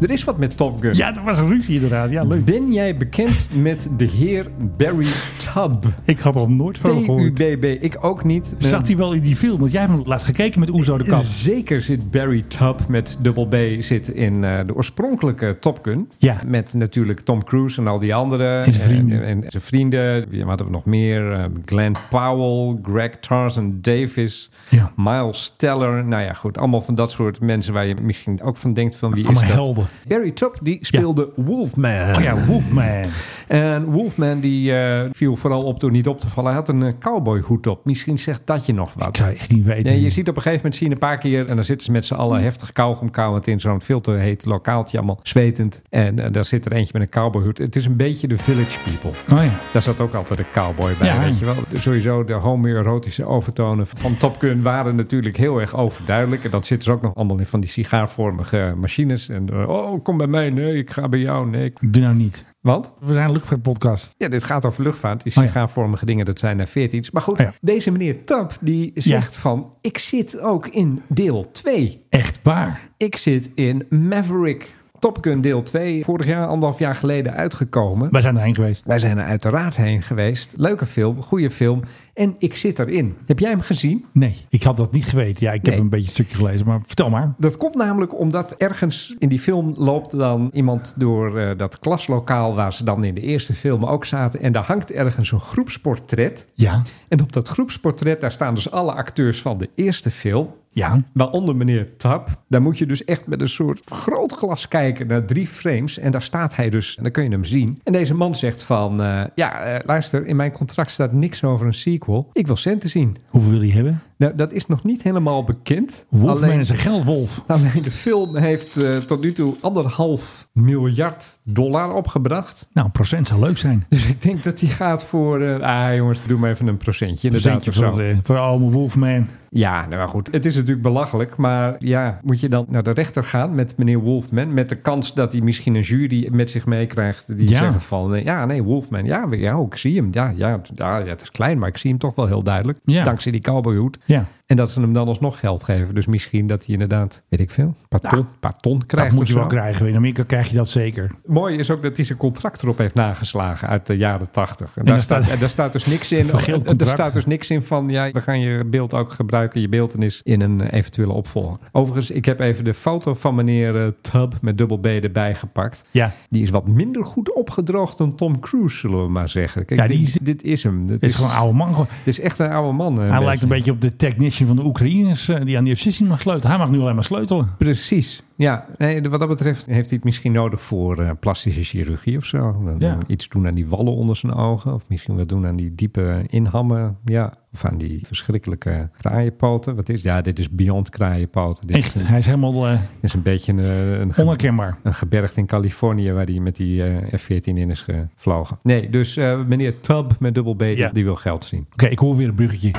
Er is wat met Top Gun. Ja, dat was een ruzie inderdaad. Ja, leuk. Ben jij bekend met de heer Barry Tubb? Ik had al nooit van hem gehoord. T-U-B-B. Ik ook niet. Zat hij wel in die film? Want jij hebt hem laatst gekeken met Oezo de Kat. Zeker zit Barry Tubb met dubbel B zit in eh, de oorspronkelijke Top Gun. Ja. Met natuurlijk Tom Cruise en al die anderen. En zijn vrienden. En, en zijn vrienden. Wie hadden we nog meer? Eh, Glenn Powell, Greg Tarzan Davis, Ja. Miles Teller. Nou ja, goed. Allemaal van dat soort mensen waar je misschien ook van denkt van wie Allemaal is dat? helden. Barry Tubb die speelde Wolfman. Oh ja, Wolfman. En Wolfman die eh, viel vooral op door niet op te vallen. Hij had een eh, cowboyhoed op. Misschien zegt dat je nog wat. Ik eh, zou echt niet weten. Nee, je ziet op een gegeven moment zie je een paar keer... en dan zitten ze met z'n allen heftig kauwgomkauwend... in zo'n veel te heet lokaaltje, allemaal zwetend. En eh, daar zit er eentje met een cowboyhoed. Het is een beetje de village people. Oh ja. Daar zat ook altijd een cowboy bij, Ja. weet je wel. Sowieso de homoerotische overtonen van Top Gun waren natuurlijk heel erg overduidelijk. En dat zitten ze ook nog allemaal in van die sigaarvormige machines. En eh, oh, kom bij mij, nee, ik ga bij jou, nee. ik- Doe nou niet. Want? We zijn een luchtvaartpodcast. Ja, dit gaat over luchtvaart. Die Oh ja. sigaarvormige dingen, dat zijn er 14. Maar goed, Oh ja. deze meneer Tap, die zegt van... ik zit ook in deel 2. Echt waar. Ik zit in Maverick. Top Gun deel 2, vorig jaar, anderhalf jaar geleden uitgekomen. Wij zijn erheen geweest. Wij zijn er uiteraard heen geweest. Leuke film, goede film. En ik zit erin. Heb jij hem gezien? Nee, ik had dat niet geweten. Ja, ik heb Nee. een beetje een stukje gelezen, maar vertel maar. Dat komt namelijk omdat ergens in die film loopt dan iemand door eh, dat klaslokaal waar ze dan in de eerste film ook zaten. En daar hangt ergens een groepsportret. Ja. En op dat groepsportret, daar staan dus alle acteurs van de eerste film. Ja. Waaronder meneer Tap. Daar moet je dus echt met een soort groot glas kijken naar drie frames. En daar staat hij dus. En dan kun je hem zien. En deze man zegt van... eh, ja, eh, luister, in mijn contract staat niks over een sequel. Ik wil centen zien. Hoeveel wil je hebben? Nou, dat is nog niet helemaal bekend. Wolfman Alleen- is een geldwolf. Alleen de film heeft eh, tot nu toe anderhalf miljard dollar opgebracht. Nou, een procent zou leuk zijn. Dus ik denk dat die gaat voor... eh, ah jongens, doe maar even een procentje. Inderdaad, Procentje of zo. voor, eh, voor oude Wolfman. Ja, nou maar goed. Het is natuurlijk belachelijk. Maar ja, moet je dan naar de rechter gaan met meneer Wolfman? Met de kans dat hij misschien een jury met zich meekrijgt. Die Ja. zeggen van, nee, ja, nee, Wolfman. Ja, we- ja, ik zie hem. Ja, ja, het- ja, het is klein, maar ik zie hem toch wel heel duidelijk. Ja. Dankzij die cowboyhoed. Ja. En dat ze hem dan alsnog geld geven. Dus misschien dat hij inderdaad, weet ik veel, een paar ton, paar ton krijgt Nou, dat moet of je wel zo. krijgen. In Amerika krijg je dat zeker. Mooi is ook dat hij zijn contract erop heeft nageslagen uit de jaren tachtig. En, daar, daar staat, staat- en daar staat dus niks in. Vergeeld en Daar contract. staat dus niks in van ja, we gaan je beeld ook gebruiken, je beeldenis in een eh, eventuele opvolger. Overigens, ik heb even de foto van meneer eh, Tubb met dubbel B erbij gepakt. Ja. Die is wat minder goed opgedroogd dan Tom Cruise, zullen we maar zeggen. Kijk, Ja, die dit, is- dit is hem. Dit Het is gewoon een oude man. Gewoon- Dit is echt een oude man. eh, Hij lijkt een beetje op de technician van de Oekraïners eh, die aan die F-16 mag sleutelen. Hij mag nu alleen maar sleutelen. Precies. Ja, nee, wat dat betreft heeft hij het misschien nodig voor eh, plastische chirurgie of zo. Dan eh, Ja. Iets doen aan die wallen onder zijn ogen. Of misschien wat doen aan die diepe inhammen. Ja. Of aan die verschrikkelijke kraaienpoten. Wat is? Ja, dit is beyond kraaienpoten. Dit Echt, Is, een, hij is helemaal eh, dit is een beetje een, een, ge- onherkenbaar. een gebergte in Californië waar hij met die eh, F-14 in is gevlogen. Nee, dus eh, meneer Tubb met dubbel B, Ja. die wil geld zien. Oké, ik hoor weer een bruggetje.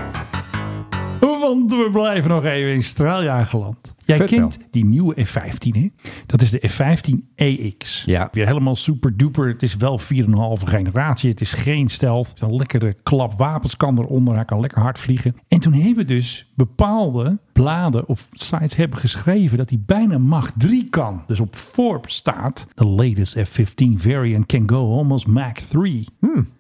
Want we blijven nog even in straaljagerland. Jij Vertel. kent die nieuwe F-15, hè? Dat is de E F-15EX. Ja. Weer helemaal super duper. Het is wel 4,5 generatie. Het is geen stelt. Het is een lekkere klap wapens kan eronder. Hij kan lekker hard vliegen. En toen hebben dus bepaalde bladen of sites hebben geschreven dat hij bijna Mach 3 kan. Dus op Forbes staat... The latest F-15 variant can go almost Mach 3.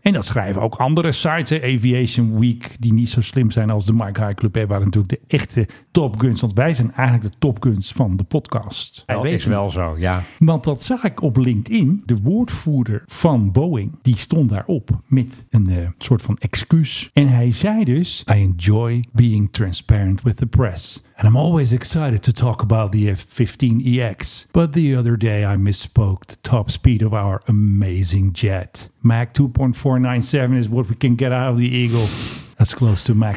En dat schrijven ook andere sites. hè. Aviation Week, die niet zo slim zijn als de Mike High Club. Hè, waar natuurlijk de echte Top Guns... Want wij zijn eigenlijk de Top Guns van de podcast. Wij Dat is weten wel zo, ja. want dat zag ik op LinkedIn. De woordvoerder van Boeing, die stond daarop met een eh, soort van excuus. En hij zei dus, I enjoy being transparent with the press. And I'm always excited to talk about the F-15EX. But the other day I misspoke the top speed of our amazing jet. Mach 2.497 is what we can get out of the Eagle. That's close to Mach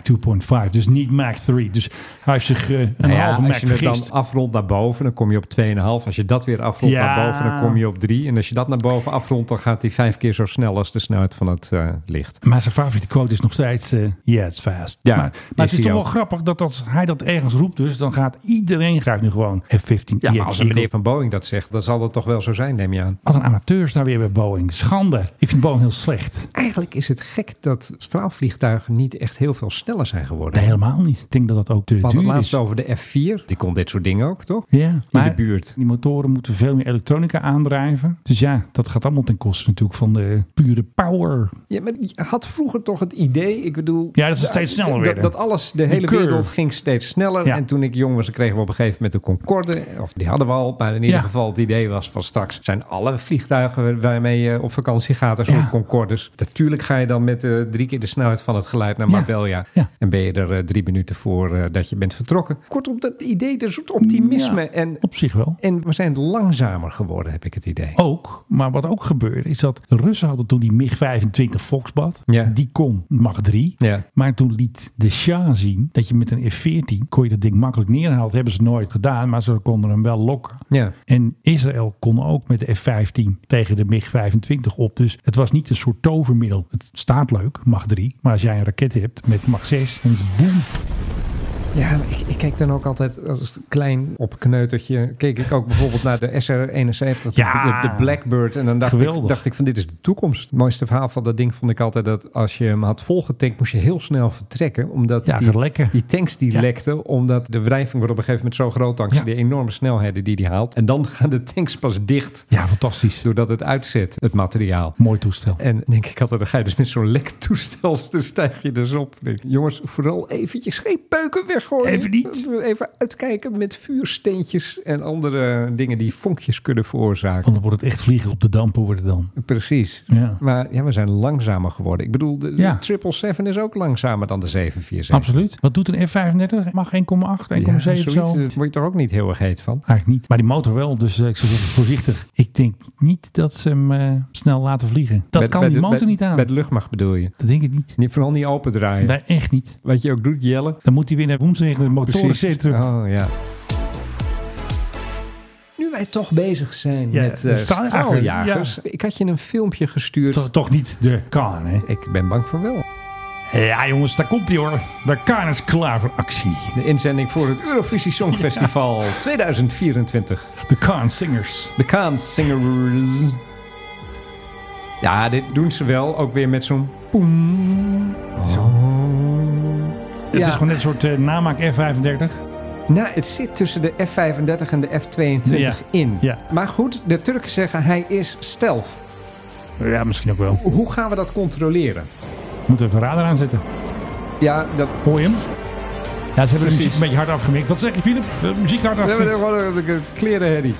2.5. Dus niet Mach 3. Dus hij heeft zich eh, een Nou ja, halve Mach als je het vergist. dan afrondt naar boven, dan kom je op 2,5. Als je dat weer afrondt Ja. naar boven, dan kom je op 3. En als je dat naar boven afrondt, dan gaat die vijf keer zo snel als de snelheid van het eh, licht. Maar zijn favoriete quote is nog steeds: eh Yeah, it's fast. Ja, maar, maar is het is hij toch wel ook. grappig dat als hij dat ergens roept, dus dan gaat iedereen graag nu gewoon F-15. Ja, maar EX als een meneer Eagle. van Boeing dat zegt, dan zal dat toch wel zo zijn, neem je aan. Wat een amateurs daar weer bij Boeing. Schande. Ik vind Boeing heel slecht. Eigenlijk is het gek dat straalvliegtuigen niet echt heel veel sneller zijn geworden. Nee, helemaal niet. Ik denk dat dat ook te We hadden het duur laatst is. over de F4. Die kon dit soort dingen ook, toch? Ja, In de buurt. die motoren moeten veel meer elektronica aandrijven. Dus ja, dat gaat allemaal ten koste natuurlijk van de pure power. Ja, maar je had vroeger toch het idee, ik bedoel... Ja, dat ze steeds sneller dat- werden. Dat, alles, de hele curve. wereld ging steeds sneller. Ja. En toen ik jong was, kregen we op een gegeven moment de Concorde. Of die hadden we al, maar in ieder Ja. geval het idee was van straks... zijn alle vliegtuigen waarmee je op vakantie gaat, een soort Ja. Concordes. Natuurlijk ga je dan met eh, drie keer de snelheid van het geluid naar Ja. Marbella. Ja. En ben je er eh, drie minuten voor eh, dat je bent vertrokken. Kortom, dat idee, een soort optimisme. Ja, En, Op zich wel. en we zijn langzamer geworden, heb ik het idee. Ook, maar wat ook gebeurde is dat de Russen hadden toen die MiG-25 Foxbat. Ja. Die kon Mach 3. Ja. Maar toen liet de Shah zien dat je met een F-14 kon je dat ding makkelijk neerhalen. Dat hebben ze nooit gedaan, maar ze konden hem wel lokken. Ja. En Israël kon ook met de F-15 tegen de MiG-25 op. Dus het was niet een soort tovermiddel. Het staat leuk, Mach 3. Maar als jij een raket hebt met Mach 6, dan is het boem. Ja, maar ik, ik keek dan ook altijd als klein opkneutertje. Keek ik ook bijvoorbeeld naar de SR-71, Ja. de, de Blackbird. En dan dacht ik, Geweldig. dacht ik van dit is de toekomst. Het mooiste verhaal van dat ding vond ik altijd dat als je hem had volgetankt, moest je heel snel vertrekken. Omdat Ja, gaat die, lekken. die tanks die Ja. lekten, omdat de wrijving wordt op een gegeven moment zo groot dankzij Ja. de enorme snelheden die die haalt. En dan gaan de tanks pas dicht Ja, fantastisch. doordat het uitzet, het materiaal. Mooi toestel. En denk ik altijd, dan ga je dus met zo'n lek toestel, dan stijg je dus op. Denk ik, jongens, vooral eventjes geen peuken weg gewoon Even niet. even uitkijken met vuursteentjes en andere dingen die vonkjes kunnen veroorzaken. Want dan wordt het echt vliegen op de dampen worden dan. Precies. Ja. Maar ja, we zijn langzamer geworden. Ik bedoel, de, Ja. de 777 is ook langzamer dan de 747. Absoluut. Wat doet een F-35? Mag 1,8, 1,7 Ja, of zoiets. eh, zo? Daar word je toch ook niet heel erg heet van? Eigenlijk niet. Maar die motor wel, dus eh, ik zou zeggen voorzichtig. Ik denk niet dat ze hem eh, snel laten vliegen. Dat Bij- kan bij die de- motor bij- niet aan. Bij de luchtmacht bedoel je. Dat denk ik niet. Niet vooral niet open draaien. Nee, echt niet. Wat je ook doet, jellen. Dan moet hij weer naar woensdag de motorencentrum. Oh ja. Nu wij toch bezig zijn Ja, met de eh straaljager. straaljagers. Ja. Ik had je een filmpje gestuurd. Toch, toch niet de Kaan, hè? Ik ben bang van wel. Ja, jongens, daar komt hij hoor. De Kaan is klaar voor actie. De inzending voor het Eurovisie Songfestival 2024. De Kaan Singers. De Kaan Singers. Ja, dit doen ze wel. Ook weer met zo'n poem. Oh. Het is gewoon net een soort eh, namaak F-35. Nou, het zit tussen de F-35 en de F-22 Ja. in. Ja. Maar goed, de Turken zeggen hij is stealth. Ja, misschien ook wel. Hoe gaan we dat controleren? Moeten we even radar aanzetten. Ja, dat... Hoor je hem? Ja, ze hebben de Precies. muziek een beetje hard afgemikt. Wat zeg je, Filip? De muziek hard We hebben afgemikt. gewoon een- een klerenherrie.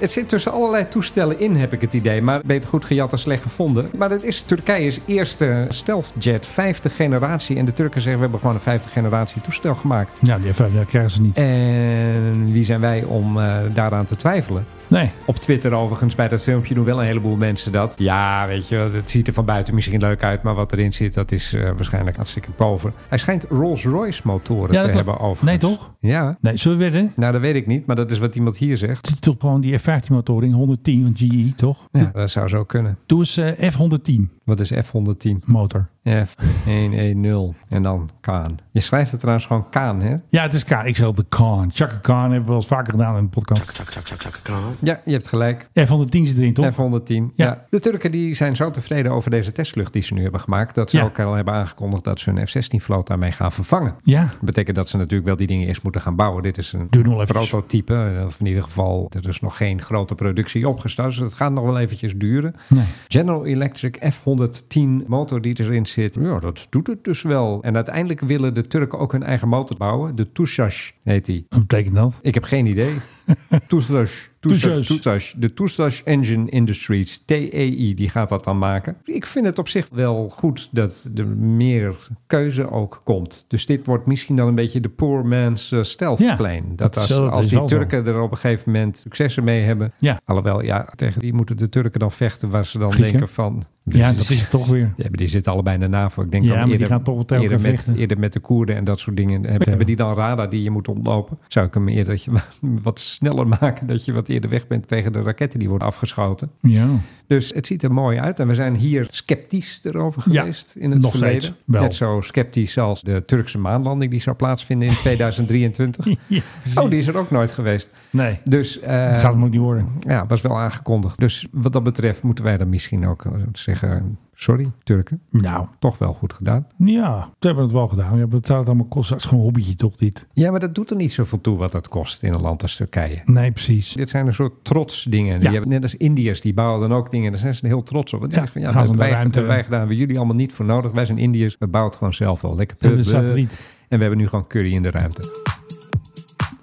Het zit tussen allerlei toestellen in, heb ik het idee. Maar beter goed gejat dan slecht gevonden. Maar dat is Turkije's eerste stealthjet, vijfde generatie. En de Turken zeggen, we hebben gewoon een vijfde generatie toestel gemaakt. Nou, die F-35 krijgen ze niet. En wie zijn wij om eh, daaraan te twijfelen? Nee. Op Twitter overigens, bij dat filmpje doen wel een heleboel mensen dat. Ja, weet je, wel, het ziet er van buiten misschien leuk uit, maar wat erin zit, dat is eh, waarschijnlijk hartstikke pover. Hij schijnt Rolls-Royce motoren Ja, te dat hebben klopt. overigens. Nee, toch? Ja, Nee, zullen we wedden? nou dat weet ik niet, maar dat is wat iemand hier zegt. Het zit toch gewoon die F-15-motor in, 110 van GE, toch? Ja, dat Eh, zou zo kunnen. Doe eens eh, F-110 Wat is F110? motor. F110 en dan Kaan. Je schrijft het trouwens gewoon Kaan, hè? Ja, het is Kaan. Ik zeg altijd Kaan. Chaka Kaan hebben we wel eens vaker gedaan in de podcast. Ja, je hebt gelijk. F-110 zit erin, toch? F110. Ja. Ja. De Turken die zijn zo tevreden over deze testvlucht die ze nu hebben gemaakt... dat ze Ja. ook al hebben aangekondigd dat ze hun F-16-vloot daarmee gaan vervangen. Ja. Dat betekent dat ze natuurlijk wel die dingen eerst moeten gaan bouwen. Dit is een Duurt nog wel eventjes. prototype. Of in ieder geval, er is nog geen grote productie opgestart. Dus dat gaat nog wel eventjes duren. Nee. General Electric F110 motor die erin zit. Ja, dat doet het dus wel. En uiteindelijk willen de Turken ook hun eigen motor bouwen. De Tushash heet die. Wat betekent dat? Ik heb geen idee. Toestash. Toestash. Toestash. De Toestash Engine Industries, TEI, die gaat dat dan maken. Ik vind het op zich wel goed dat er meer keuze ook komt. Dus dit wordt misschien dan een beetje de poor man's eh, stealth Ja, plane. Dat, dat is als, wel- dat als is die wel zo. Turken er op een gegeven moment successen mee hebben. Ja. Alhoewel, ja, tegen die moeten de Turken dan vechten waar ze dan Grieken. denken van... Ja, dat is het toch weer. Ja, maar die zitten allebei in de NAVO. Ik denk Ja, dan maar die eerder, gaan toch wel tegen eerder, elkaar met, vechten. eerder met de Koerden en dat soort dingen. Hebben, hebben die dan radar die je moet ontlopen? Zou ik hem eerder dat je wat sneller maken... dat je wat eerder weg bent tegen de raketten die worden afgeschoten? Ja. Dus het ziet er mooi uit. En we zijn hier sceptisch erover Ja, geweest in het nog verleden. steeds wel. Net zo sceptisch als de Turkse maanlanding die zou plaatsvinden in 2023. Ja, oh, die is er ook nooit geweest. Nee. Dus eh, Dat gaat hem ook niet worden. ja, was wel aangekondigd. Dus wat dat betreft moeten wij dan misschien ook eh, zeggen... Sorry, Turken. Nou, Toch wel goed gedaan. ja. Ze hebben het wel gedaan. Ja, betaalt het allemaal kosten. Het is gewoon een hobbytje, toch, dit? Ja, maar dat doet er niet zoveel toe wat dat kost in een land als Turkije. Nee, precies. Dit zijn een soort trots dingen. Die Ja. hebben, net als Indiërs, die bouwen dan ook dingen. Daar zijn ze heel trots op. Want die Ja, zeggen van, gaan ja, ze dat naar wij, ruimte. dat wij gedaan hebben jullie allemaal niet voor nodig. Wij zijn Indiërs, we bouwen het gewoon zelf wel. Lekker hebben een pub, eh, satelliet. En we hebben nu gewoon curry in de ruimte.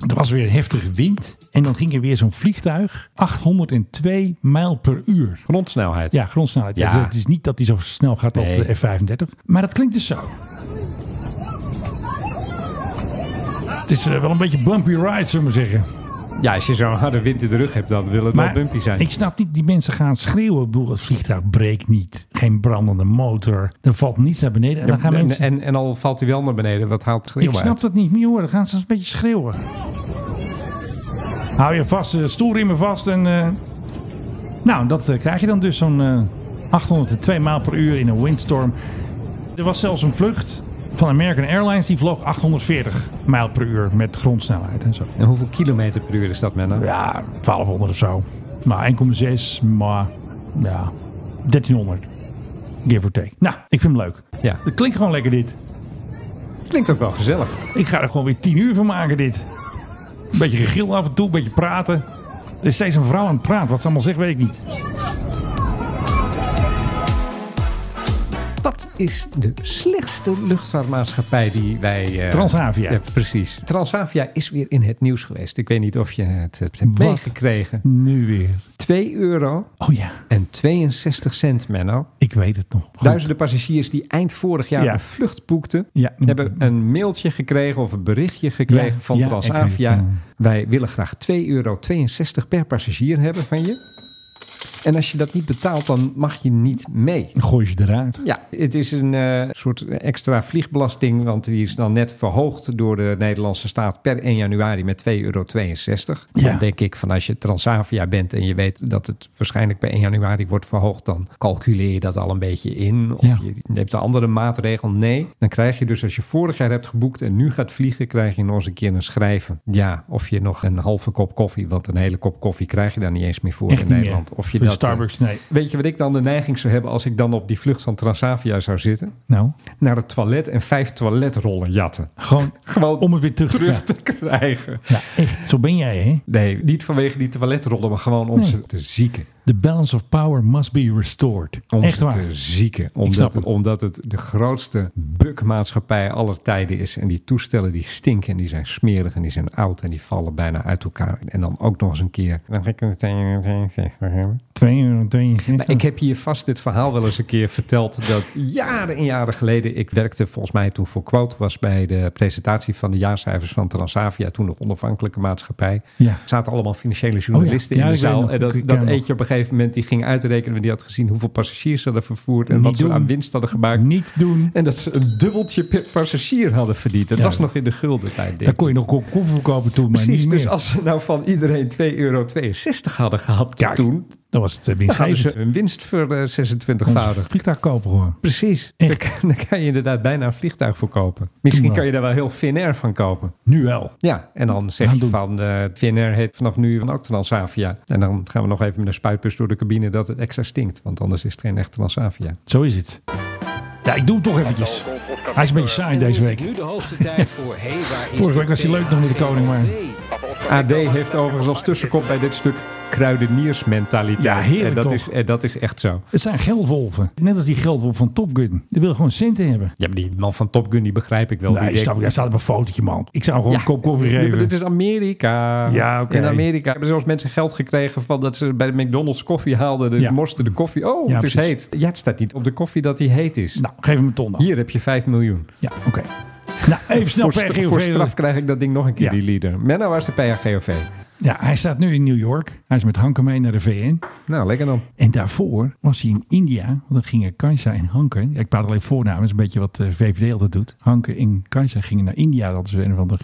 Er was weer heftige wind. En dan ging er weer zo'n vliegtuig. 802 mijl per uur. Grondsnelheid. Ja, grondsnelheid. Ja. Ja. dus het is niet dat die zo snel gaat als Nee. de F-35. Maar dat klinkt dus zo. Het is eh, wel een beetje bumpy ride, zullen we zeggen. Ja, als je zo'n harde wind in de rug hebt, dan wil het wel bumpy zijn. ik snap niet, die mensen gaan schreeuwen. Ik bedoel, het vliegtuig breekt niet. Geen brandende motor. Er valt niets naar beneden. En dan gaan en, mensen... en, en al valt hij wel naar beneden, wat haalt het ik glimlach uit? snap dat niet meer hoor. Dan gaan ze een beetje schreeuwen. Hou je vast, eh, stoelriemen vast. En, eh, Nou, dat eh, krijg je dan dus zo'n eh, 802 maal per uur in een windstorm. Er was zelfs een vlucht van American Airlines. Die vloog 840 mijl per uur met grondsnelheid en zo. En hoeveel kilometer per uur is dat, Menno? Ja, 1200 of zo. Maar 1,6, maar ja, 1300. Give or take. Nou, ik vind hem leuk. Ja. Het klinkt gewoon lekker dit. Klinkt ook wel gezellig. Ik ga er gewoon weer 10 uur van maken dit. Een beetje gegil af en toe, een beetje praten. Er is steeds een vrouw aan het praten. Wat ze allemaal zegt, weet ik niet. Wat is de slechtste luchtvaartmaatschappij die wij... eh, Transavia. Ja, precies. Transavia is weer in het nieuws geweest. Ik weet niet of je het hebt meegekregen. Nu weer. 2 euro Oh ja, en 62 cent, Menno. ik weet het nog. Goed. Duizenden passagiers die eind vorig jaar Ja. een vlucht boekten... Ja. hebben een mailtje gekregen of een berichtje gekregen Ja, van ja, Transavia. ik weet het, Wij willen graag 2,62 euro per passagier hebben van je. En als je dat niet betaalt, dan mag je niet mee. Dan gooi je ze eruit. Ja, het is een eh, soort extra vliegbelasting, want die is dan net verhoogd door de Nederlandse staat per 1 januari met 2,62 euro. Ja. Dan denk ik van als je Transavia bent en je weet dat het waarschijnlijk per 1 januari wordt verhoogd, dan calculeer je dat al een beetje in. Of Ja. je neemt een andere maatregel. Nee, dan krijg je dus als je vorig jaar hebt geboekt en nu gaat vliegen, krijg je nog eens een keer een schrijven. Ja, of je nog een halve kop koffie, want een hele kop koffie krijg je daar niet eens meer voor Echt in niet meer. Nederland. Of je Voor dat, eh, Starbucks, nee. Weet je wat ik dan de neiging zou hebben als ik dan op die vlucht van Transavia zou zitten? Nou, Naar het toilet en vijf toiletrollen jatten. gewoon Gewoon om het weer terug te terug krijgen. te krijgen. Ja, echt. Zo ben jij, hè? Nee, niet vanwege die toiletrollen, maar gewoon om Nee. ze te zieken. The balance of power must be restored. Om echt ze waar. te zieken. snap Omdat het. het, omdat het de grootste bukmaatschappij aller tijden is. En die toestellen die stinken en die zijn smerig en die zijn oud en die vallen bijna uit elkaar. En dan ook nog eens een keer. Dan ga ik het hebben. 2 euro. Maar ik heb hier vast dit verhaal wel eens een keer verteld. Dat jaren en jaren geleden. Ik werkte volgens mij toen voor Quote. Was bij de presentatie van de jaarcijfers van Transavia. Toen nog onafhankelijke maatschappij. Ja. Oh Er zaten allemaal financiële journalisten Ja, in de ik weet zaal. nog. En dat, Ik- ik dat ken eentje op een gegeven moment. Die ging uitrekenen. want Die had gezien hoeveel passagiers ze hadden vervoerd. En Niet wat ze doen. aan winst hadden gemaakt. Niet doen. En dat ze een dubbeltje per passagier hadden verdiend. Dat Ja. was nog in de gulden tijd. Daar kon je nog een kop koffie verkopen toen, maar Precies, niet meer. dus als ze nou van iedereen 2,62 euro hadden gehad Kijk, toen, Dat was het eh, dan hadden winstgevend. ze hun winst voor eh, Kon ze 26-voudig. een vliegtuig kopen gewoon. Precies. Dan, Echt. kan- dan kan je inderdaad bijna een vliegtuig voor kopen. Misschien maar. kan je daar wel heel Finnair van kopen. Nu wel. Ja, en dan zeg Gaan je doen. van eh Finnair heet vanaf nu van ook Transavia. En dan gaan we nog even met een spuitbus door de cabine dat het extra stinkt. Want anders is het geen echt Transavia. Zo is het. Ja, ik doe hem toch eventjes. Hij is een beetje saai deze week. Nu de hoogste tijd voor hey, waar is Vorige de week was hij leuk nog met de koning, maar- PRV? AD heeft overigens als tussenkop bij dit stuk kruideniersmentaliteit. Ja, heerlijk en dat toch? Is, en dat is echt zo. Het zijn geldwolven. Net als die geldwolf van Top Gun. Die wil gewoon centen hebben. Ja, maar die man van Top Gun, die begrijp ik wel. Nee, die snap ik. Daar staat op een fotootje, man. Ik zou hem gewoon een kop koffie Ja, maar geven. Dit is Amerika. Ja, oké. In Amerika hebben zelfs mensen geld gekregen van dat ze bij de McDonald's koffie haalden. De Ja. morsten de koffie. Oh, Ja, het is precies. heet. Ja, het staat niet op de koffie dat die heet is. Nou, geef hem een ton dan. Hier heb je 5 miljoen. Ja, oké. Nou, even snel voor, stra- PRGOV. voor straf krijg ik dat ding nog een keer, Ja. die leader. Menno, waar is de PHGOV? Ja, hij staat nu in New York. Hij is met Hanke mee naar de VN. Nou, lekker dan. En daarvoor was hij in India. Want dan gingen Kansa en Hanke. ja, ik praat alleen voornamen. Dat is een beetje wat eh, de VVD altijd doet. Hanke en Kansa gingen naar India. Dat is een van de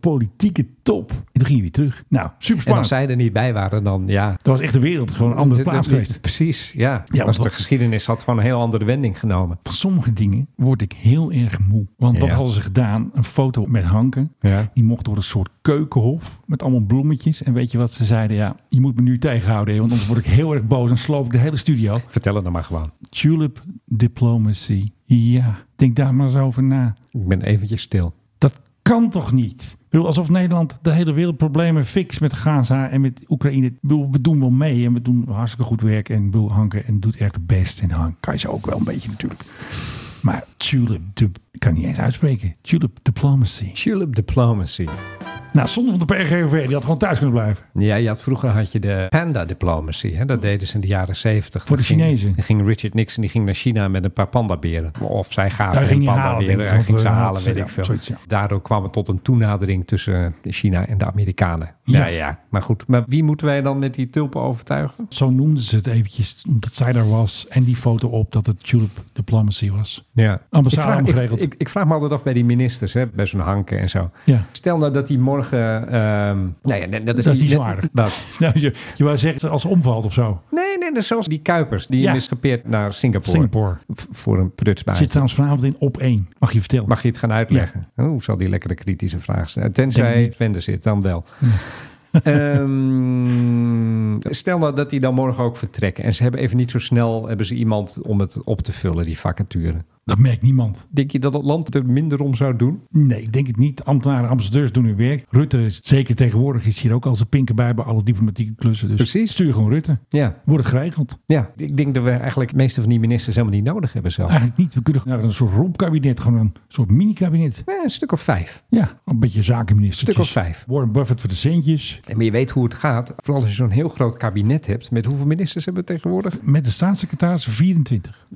geopolitieke top. En toen gingen we weer terug. Nou, super En spannend. als zij er niet bij waren, dan ja. Dat was echt de wereld. Gewoon een andere plaats geweest. Precies, ja. Ja, Als want- de geschiedenis had gewoon een heel andere wending genomen. Van sommige dingen word ik heel erg moe. Want wat Ja. hadden ze gedaan? Een foto met Hanke. Ja. Die mocht door een soort keukenhof met allemaal bloemetjes. En weet je wat ze zeiden? Ja, je moet me nu tegenhouden, hè, want anders word ik heel erg boos en sloop ik de hele studio. Vertel het dan maar gewoon. Tulip diplomacy. Ja, denk daar maar eens over na. Ik ben eventjes stil. Dat kan toch niet? Ik bedoel, alsof Nederland de hele wereld problemen fix met Gaza en met Oekraïne. Ik bedoel, we doen wel mee en we doen hartstikke goed werk. En ik bedoel, Hanke en doet echt het best. En Hank kan je ze ook wel een beetje natuurlijk. Maar tulip, dip- ik kan niet eens uitspreken. Tulip diplomacy. Tulip diplomacy. Nou, zonder van de PRGOV, die had gewoon thuis kunnen blijven. Ja, je had, vroeger had je de panda-diplomacy. Hè? Dat deden ze in de jaren zeventig. Voor de Chinezen. Ging, ging Richard Nixon die ging naar China met een paar pandaberen. Of zij Daar gaven ging hem hij halen, pandaberen. denk ik, Hij ging want, ze eh, halen, weet ja, ik veel. zoiets, ja. Daardoor kwam het tot een toenadering tussen China en de Amerikanen. Ja. Ja. ja, Maar goed, maar wie moeten wij dan met die tulpen overtuigen? Zo noemden ze het eventjes, omdat zij daar was. En die foto op dat het Tulip Diplomacy was. Ja. Ambassade ik vraag, omgeregeld. ik, ik, ik vraag me altijd af bij die ministers, hè? bij zo'n hanken en zo. Ja. Stel nou dat die morgen... ehm nou ja, dat is, Dat is niet net- zo aardig. Wat? Nou, je, je wou zeggen als ze omvalt of zo. Nee, nee, dat is zoals die Kuipers. Die Ja. is gepeerd naar Singapore. Singapore. V- voor een prutsbaantje. Zit trouwens vanavond in op één. Mag je vertellen? Mag je het gaan uitleggen? Hoe zal die lekkere kritische vraag zijn? Tenzij niet. het Wende zit, dan wel. Ehm, stel nou dat die dan morgen ook vertrekken. En ze hebben even niet zo snel hebben ze iemand om het op te vullen, die vacature. Dat merkt niemand. Denk je dat het land er minder om zou doen? Nee, ik denk het niet. Ambtenaren, ambassadeurs doen hun werk. Rutte, is, zeker tegenwoordig, is hier ook als een pinkerbij bij alle diplomatieke klussen. Dus Precies. stuur gewoon Rutte. Ja. Wordt het geregeld? Ja, ik denk dat we eigenlijk de meeste van die ministers helemaal niet nodig hebben zelf. Eigenlijk niet. We kunnen naar een soort rompkabinet, gewoon een soort mini-kabinet. Nee, een stuk of vijf. Ja, een beetje zakenminister. Stuk of vijf. Warren Buffett voor de centjes. En maar je weet hoe het gaat. Vooral als je zo'n heel groot kabinet hebt. Met hoeveel ministers hebben we tegenwoordig? Met de staatssecretaris 24.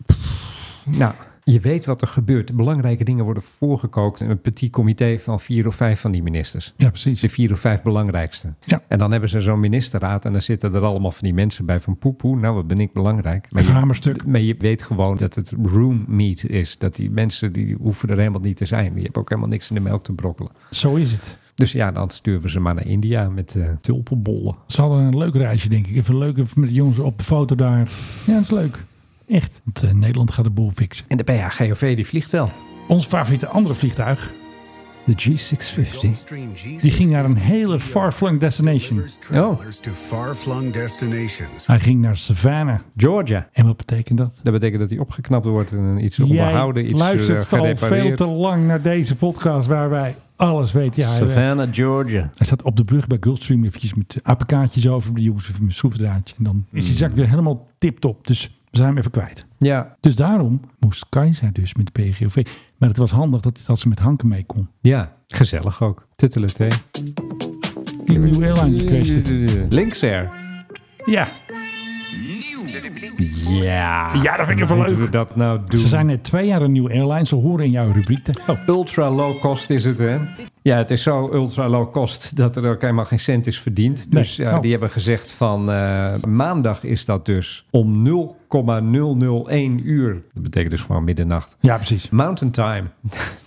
Nou, je weet wat er gebeurt. De belangrijke dingen worden voorgekookt. in Een petit comité van vier of vijf van die ministers. Ja, precies. De vier of vijf belangrijkste. Ja. En dan hebben ze zo'n ministerraad. En dan zitten er allemaal van die mensen bij van poepoe. Nou, wat ben ik belangrijk. Maar Het je, hamerstuk. maar je weet gewoon dat het room meet is. Dat die mensen die hoeven er helemaal niet te zijn. Die hebben ook helemaal niks in de melk te brokkelen. Zo is het. Dus ja, dan sturen we ze maar naar India met eh, tulpenbollen. Ze hadden een leuk reisje, denk ik. Even leuk even met de jongens op de foto daar. Ja, dat is leuk. Echt. Want eh, Nederland gaat de boel fixen. En de PHGOV die vliegt wel. Ons favoriete andere vliegtuig, De G650. die ging naar een hele far-flung destination. Oh, Hij ging naar Savannah. Georgia. En wat betekent dat? Dat betekent dat hij opgeknapt wordt en iets Jij onderhouden, iets eh, luistert al veel gerepareerd. te lang naar deze podcast waar wij alles weten. Ja, hij- Savannah, Georgia. Hij staat op de brug bij Gulfstream eventjes met APK'tjes over. De jongens even een schroefdraadje. En dan Mm. is die zak weer helemaal tip-top. Dus we zijn hem even kwijt. Ja, Dus daarom moest Kajsa dus met de PGOV. Maar het was handig dat, dat ze met Hanke mee kon. ja. Gezellig ook. Tuttelen, hè. Die nieuwe airline die crashte. Links Air. Ja, Ja. Ja, dat vind ik even Moeten leuk. we dat nou doen? ze zijn net twee jaar een nieuwe airline. Ze horen in jouw rubriek. te- Oh, Ultra low cost is het, hè? Ja, het is zo ultra low cost dat er ook helemaal geen cent is verdiend. Nee. Dus ja, Oh. die hebben gezegd van eh, maandag is dat dus om 0,001 uur. Dat betekent dus gewoon middernacht. ja, precies. Mountain Time.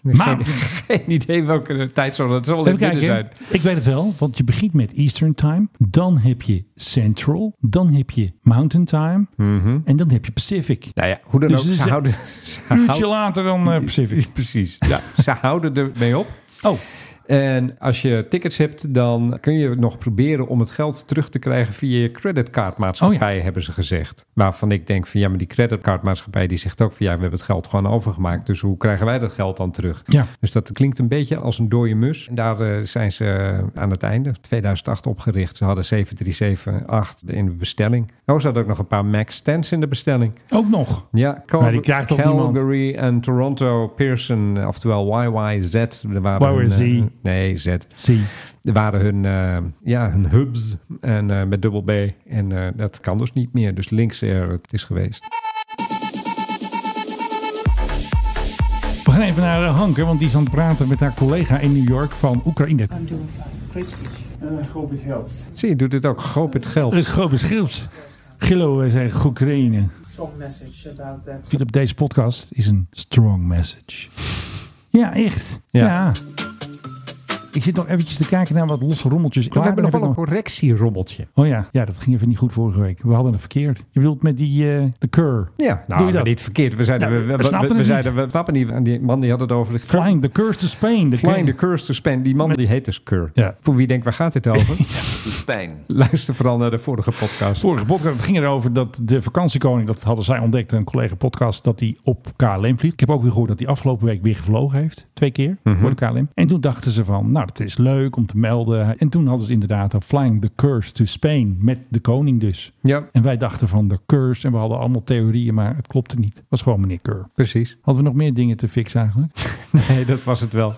Mountain- Geen, geen idee welke tijdzone het zal Even in het midden zijn. kijken. Ik weet het wel, want je begint met Eastern Time. Dan heb je Central. Dan heb je Mountain Time. En dan heb je Pacific. Nou Mhm. ja, hoe dan Dus ook. het is Ze een houden, ze Uurtje houden- later dan eh, Pacific. Precies. Ja, ze houden er mee op. Oh, En als je tickets hebt, dan kun je nog proberen om het geld terug te krijgen via je creditcardmaatschappij, hebben ze gezegd. Waarvan ik denk van ja, maar die creditcardmaatschappij die zegt ook van ja, we hebben het geld gewoon overgemaakt. Dus hoe krijgen wij dat geld dan terug? Ja. Dus dat klinkt een beetje als een dode mus. En daar eh, zijn ze aan het einde, 2008, opgericht. Ze hadden 7378 in de bestelling. Oh, ze hadden ook nog een paar Max 10's in de bestelling. ook nog. Ja, Maar die krijgt toch niemand? Calgary en Toronto Pearson, eh, oftewel YYZ. er waren YYZ. hun, eh, nee, Z. Zie. Er waren hun, eh, ja, hun hubs en, eh, met dubbel B. En eh, dat kan dus niet meer. Dus links er het is geweest. We gaan even naar eh, Hanke, want die is aan het praten met haar collega in New York van Oekraïne. Zie je, doet het ook. Goop het Er is geld. groot beschild. Gillo, wij zeggen Oekraïne. Philip, deze podcast is een strong message. Ja, echt. Ja. Ja. Ik zit nog eventjes te kijken naar wat losse rommeltjes. We Klaar hebben nog ben wel een ik correctierommeltje. nog- Oh ja. ja, dat ging even niet goed vorige week. We hadden het verkeerd. Je bedoelt met die eh, de cur. Ja, Doe nou, je maar dat? niet verkeerd. We zeiden, Ja, we, we, we we, snapten we, het zeiden, we snappen niet. En die man die had het over de Flying the curse to Spain. De Flying the cur. Curse to Spain. Die man die heet dus Cur. Ja. Voor wie denkt, waar gaat dit over? Pijn. Luister vooral naar de vorige podcast. Vorige podcast ging erover dat de vakantiekoning, dat hadden zij ontdekt, een collega podcast, dat hij op KLM vliegt. Ik heb ook weer gehoord dat hij afgelopen week weer gevlogen heeft. Twee keer Mhm. voor de KLM. En toen dachten ze van, nou, dat is leuk om te melden. En toen hadden ze inderdaad een Flying the Curse to Spain met de koning dus. Ja, En wij dachten van de curse en we hadden allemaal theorieën, maar het klopte niet. Het was gewoon meneer Keur. precies. Hadden we nog meer dingen te fixen eigenlijk? Nee, dat was het wel.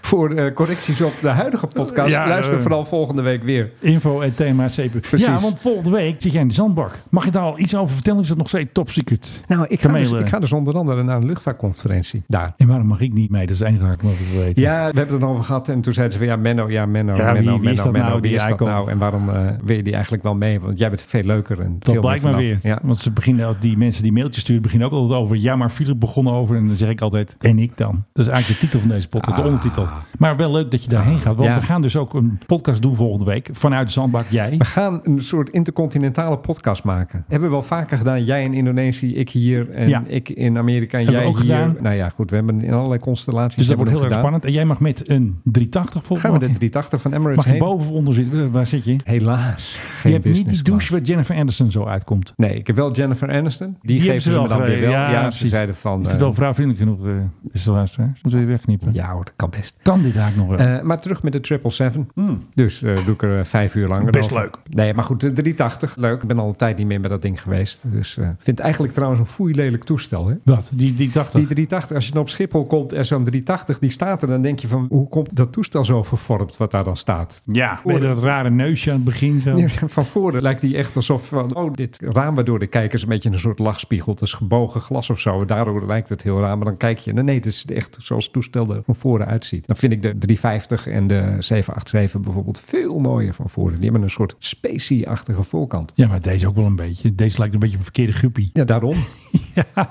Voor eh, correcties op de huidige podcast, Ja, luister eh. vooral volgende week weer. Info en thema CP. Ja, want volgende week zit jij in de zandbak. Mag je daar al iets over vertellen? Is dat nog steeds top secret? Nou, ik ga, dus, Kamelen. ik ga dus onder andere naar een luchtvaartconferentie. Daar. En waarom mag ik niet mee? Dat is eigenlijk wat ik wil weten. Ja, we hebben het erover gehad. En toen zeiden ze van ja, Menno, ja, Menno, Ja, Menno, wie- wie Menno, is dat Menno, nou, wie die is dat eikel? nou? En waarom eh wil je die eigenlijk wel mee? Want jij bent veel leuker. En veel Dat meer blijkt maar weer. vanaf. Ja. Want ze beginnen, ook- die mensen die mailtjes sturen, beginnen ook altijd over. Ja, maar Philip begon over. En dan zeg ik altijd, en ik dan. Dat is eigenlijk de titel van deze podcast, de ondertitel. Maar wel leuk dat je daarheen gaat. Want Ah. Ja. we gaan dus ook een podcast doen volgende week. Vanuit de Zandbak, jij. We gaan een soort intercontinentale podcast maken. Hebben we wel vaker gedaan. Jij in Indonesië, ik hier en Ja. ik in Amerika en Hebben we jij ook hier. gedaan. Nou ja, goed, we hebben in allerlei constellaties. Dus dat hebben wordt we heel erg gedaan. spannend. En jij mag met een 380 volgens Gaan mij. we de 380 van Emirates Mag je heen? boven of onder zitten? Waar zit je? Helaas. je Geen hebt niet business die douche class. waar Jennifer Anderson zo uitkomt. Nee, ik heb wel Jennifer Aniston. Die, hebben geven ze me dan weer wel. gereden. Ja, ze precies. zeiden van... Het is eh, wel vrouwvriendelijk genoeg, eh, is de luisteraar. Moeten we weer wegknippen. ja hoor, dat kan best. Kan dit eigenlijk nog wel? Eh, maar terug met de 777. Dus eh, doe ik er eh, vijf uur langer Hmm. Best over. leuk. Nee, maar goed, de 380. Leuk. Ik ben al een tijd niet meer bij dat ding geweest. Dus eh, ik vind het eigenlijk trouwens een foeilelijk toestel. Hè? Wat? Die, die 80? Die 380, als je dan op Schiphol komt en zo'n 380 die staat er, dan denk je van hoe komt dat toestel zo vervormd wat daar dan staat? ja, met dat rare neusje aan het begin. Zo. Ja, Van voren lijkt hij echt alsof van, oh, dit raam waardoor de kijkers een beetje een soort lachspiegel. Het is gebogen glas of zo. Daardoor lijkt het heel raar. Maar dan kijk je. Nee, nee, het is echt zoals het toestel er van voren uitziet. Dan vind ik de 350 en de 787 bijvoorbeeld veel mooier van voren. Die hebben een soort specie-achtige voorkant. Ja, maar deze ook wel een beetje. Deze lijkt een beetje op een verkeerde guppie. Ja, daarom.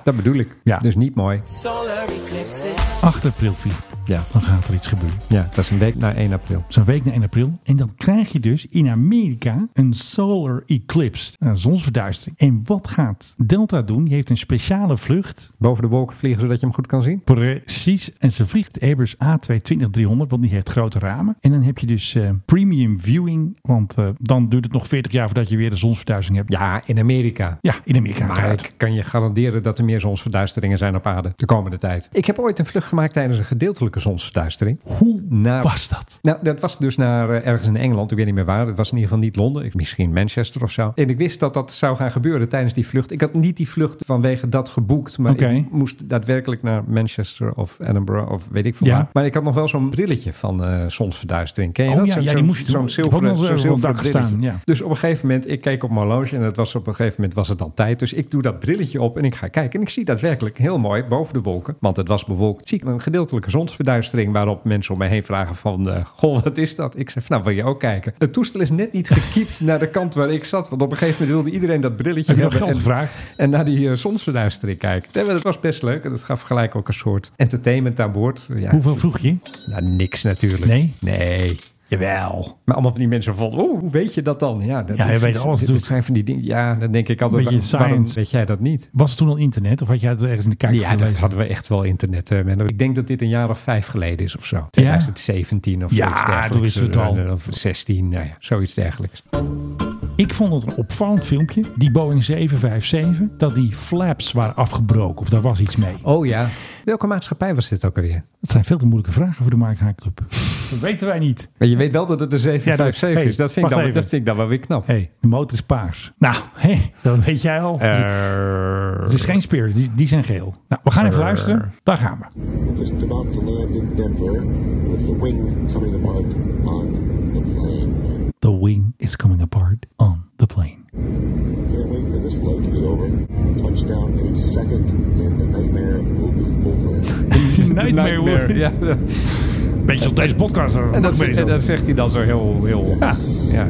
Dat bedoel ik. Ja. Dus niet mooi. 8 april, Filip. Ja. Dan gaat er iets gebeuren. ja, dat is een week na 1 april. Zo'n week na 1 april. En dan krijg je dus in Amerika een solar eclipse. Nou, Een zonsverduistering. En wat gaat Delta doen? Die heeft een speciale vlucht. Boven de wolken vliegen zodat je hem goed kan zien. Precies. En ze vliegt Airbus A220-300, want die heeft grote ramen. En dan heb je dus eh, premium viewing, want eh, dan duurt het nog 40 jaar voordat je weer de zonsverduistering hebt. Ja, in Amerika. Ja, in Amerika. Maar uiteraard. ik kan je garanderen dat er meer zonsverduisteringen zijn op aarde de komende tijd. Ik heb ooit een vlucht gemaakt tijdens een gedeeltelijke zonsverduistering. Hoe Nou, was dat? Nou, dat was dus naar eh, ergens in Engeland. Ik weet niet meer waar. Het was in ieder geval niet Londen. Ik, misschien Manchester of zo. En ik wist dat dat zou gaan gebeuren tijdens die vlucht. Ik had niet die vlucht vanwege dat geboekt. Maar Oké. ik moest daadwerkelijk naar Manchester of Edinburgh of weet ik veel Ja. waar. Maar ik had nog wel zo'n brilletje van eh zonsverduistering. Ken je Oh dat? ja, Zo'n- ja, die zo'n- moest je doen. Zo'n Ik heb ook nog zilveren, zo'n zo'n zilveren dak gestaan, brilletje. ja. Dus op een gegeven moment, ik keek op mijn horloge en het was op een gegeven moment was het dan tijd. Dus ik doe dat brilletje op en ik ga kijken. En ik zie daadwerkelijk heel mooi boven de wolken, want het was bewolkt, zie ik een gedeeltelijke zonsverduistering waarop mensen om me heen vragen van, eh, goh, wat is dat? Ik zeg, nou, wil je ook kijken? Het toestel is net niet gekiept naar de kant waar ik zat, want op een gegeven moment wilde iedereen dat brilletje Heb je nog hebben geld en- gevraagd? en naar die eh, zonsverduistering kijken. Nee, maar dat was best leuk en dat gaf gelijk ook een soort entertainment aan boord. Ja, Hoeveel vroeg je? Nou, niks natuurlijk. Nee? Nee. Jawel. Maar allemaal van die mensen van, oh, hoe weet je dat dan? Ja, dat Ja, je is- weet alles dat- dat- Dat natuurlijk. zijn van die dingen. Ja, dan denk ik altijd, Beetje waarom, waarom science. weet jij dat niet? Was het toen al internet of had jij het ergens in de kijker Ja, dat gelezen? hadden we echt wel internet. eh, Menno. Ik denk dat dit een jaar of vijf geleden is of zo. 2017 of Ja, zoiets dergelijks. Eh, toen is het al. Of 16, nou ja, zoiets dergelijks. Ik vond het een opvallend filmpje. Die Boeing 757, dat die flaps waren afgebroken of daar was iets mee. Oh ja. Welke maatschappij was dit ook alweer? Dat zijn veel te moeilijke vragen voor de Mark Haak Club. Dat weten wij niet. Maar je weet wel dat het een 757 Ja, dat- is. Dat vind, ik hey, dan, wacht dat vind ik dan wel weer knap. Hé, hey, de motor is paars. Nou, hé, dat weet jij al. Eh, Het is geen speer, die, die zijn geel. Nou, we gaan even luisteren. Daar gaan we. Just about to land in Denver with the wing coming apart on the plane. The wing is coming apart on the plane. Can't wait for this flight to be over. Touchdown in a second, and the nightmare will be over. Nightmare. Nightmare, Ja, Beetje op deze podcast. en, dat, en dat zegt hij dan zo heel... heel ja.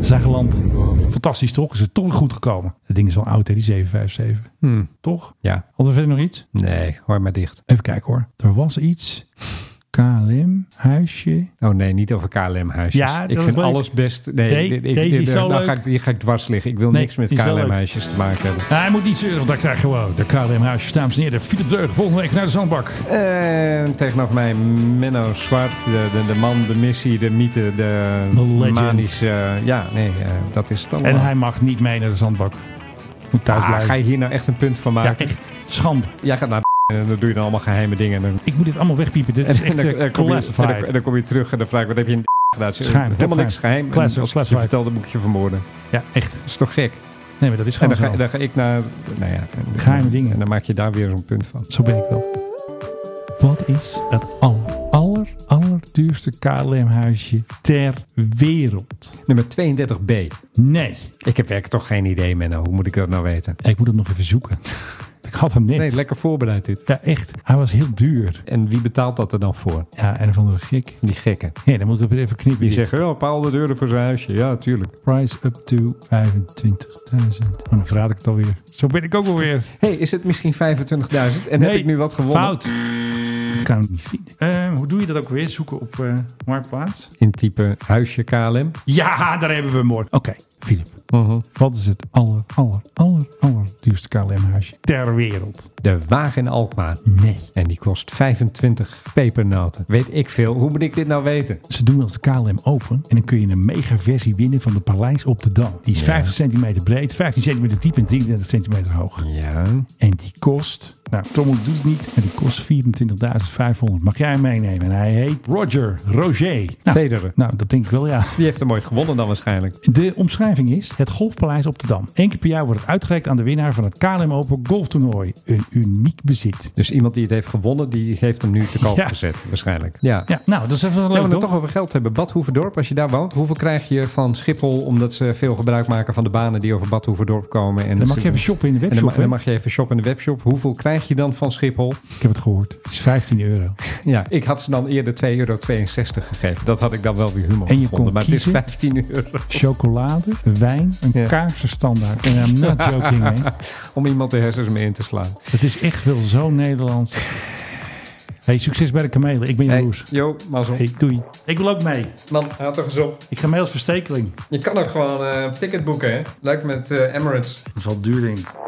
Zijn geland. Fantastisch toch? Is het toch weer goed gekomen? Dat ding is wel oud hè, die 757. Toch? Hmm. ja. Hadden we verder nog iets? Nee, hoor maar dicht. Even kijken hoor. Er was iets. KLM, huisje. Oh nee, niet over KLM-huisjes. Ja, dat ik is vind leuk. alles best. Nee, Nee, dit- ik, deze dit- is zo nou ga leuk. ik, hier ga ik dwars liggen. Ik wil Nee, niks met die is wel leuk. KLM-huisjes te maken hebben. Nou, hij moet niet zeuren, want daar krijg je gewoon de KLM huisje. Dames en heren, Philip Deugen volgende week naar de zandbak. En tegenover mij Menno Zwart, de, de, de man, de missie, de mythe, de The legend. manische... ja, nee, eh, dat is het allemaal. En hij mag niet mee naar de zandbak. Moet thuis Ah, blijven. ga je hier nou echt een punt van Ja, maken? echt. Schande. Jij gaat naar en dan doe je dan allemaal geheime dingen. En dan, Ik moet dit allemaal wegpiepen. Dit is en echt dan- eh, dan kom je, en dan, classified. en dan kom je terug en dan vraag ik, wat heb je in de gedaan? Ze- Schijn, Helemaal dat niks schijn. geheim. En Classified, als ik je classified. vertelde, moet ik je vermoorden. Ja, echt. Dat is toch gek? Nee, maar dat is En gewoon dan ga, zo. dan ga ik naar... Nou ja, en- Geheime dingen. En dan maak je daar weer een punt van. Zo ben ik wel. Wat is het aller, aller, allerduurste KLM-huisje ter wereld? Nummer 32b. Nee. Ik heb werkelijk toch geen idee, Menno. Hoe moet ik dat nou weten? Ik moet het nog even zoeken. ik had hem net. Nee, lekker voorbereid dit. ja, echt. Hij was heel duur. En wie betaalt dat er dan voor? Ja, en van de gek. Die gekken. Nee, dan moet ik het weer even knippen. Die dit. zeggen, oh, een paar honderd euro voor zijn huisje. Ja, tuurlijk. Price up to 25.000. Oh, dan verraad ik het alweer. Zo ben ik ook alweer. hey, is het misschien 25.000? En heb ik nu wat gewonnen? Fout. Ik kan hem niet vinden. Eh, hoe doe je dat ook weer? Zoeken op eh, Marktplaats? Intypen huisje KLM. Ja, daar hebben we hem hoor. Oké, Filip. Mhm. Wat is het aller, aller, aller, aller duurste KLM-huisje ter wereld? De wagen in Alkmaar. Nee. En die kost 25 pepernoten. Weet ik veel. Hoe moet ik dit nou weten? Ze doen wel eens de KLM open en dan kun je een mega versie winnen van de Paleis op de Dam. Die is 50 centimeter breed, 15 centimeter diep en 33 centimeter hoog. Ja. En die kost, nou Tom doet het niet, maar die kost 24.500. Mag jij hem meenemen? En hij heet Roger, Roger. Nou, Federer. nou, dat denk ik wel ja. Die heeft hem ooit gewonnen dan waarschijnlijk. De omschrijving is het Golfpaleis op de Dam. Eén keer per jaar wordt het uitgereikt aan de winnaar van het KLM Open golftoernooi. Een uniek bezit. Dus iemand die het heeft gewonnen, die heeft hem nu te koop Ja. gezet waarschijnlijk. Ja. Ja, nou, dat is even Ja, leuk we toch? het toch over geld hebben. Badhoevedorp, als je daar woont, hoeveel krijg je van Schiphol omdat ze veel gebruik maken van de banen die over Badhoevedorp komen? En dat Dan mag ze- je even shoppen in de En dan, webshop. ma- hè? dan mag je even shoppen in de webshop. Hoeveel krijg je dan van Schiphol? Ik heb het gehoord. Het is 15 euro. Ja, ik had ze dan eerder 2,62 euro gegeven. Dat had ik dan wel weer humor En je gevonden. kon Maar het is kiezen? 15 euro Chocolade, wijn, een Ja. kaarsenstandaard. En eh, I'm not joking, hè. om iemand de hersens mee in te slaan. Het is echt wel zo Nederlands. Hey, succes bij de kamelen. Ik ben Hey, Jeroes. yo, mazzel. Hey, doei. Ik wil ook mee. Man, houd toch eens op. Ik ga mee als verstekeling. Je kan ook gewoon eh, ticket boeken, hè? Leuk met eh, Emirates. Dat is wel duur, denk ik.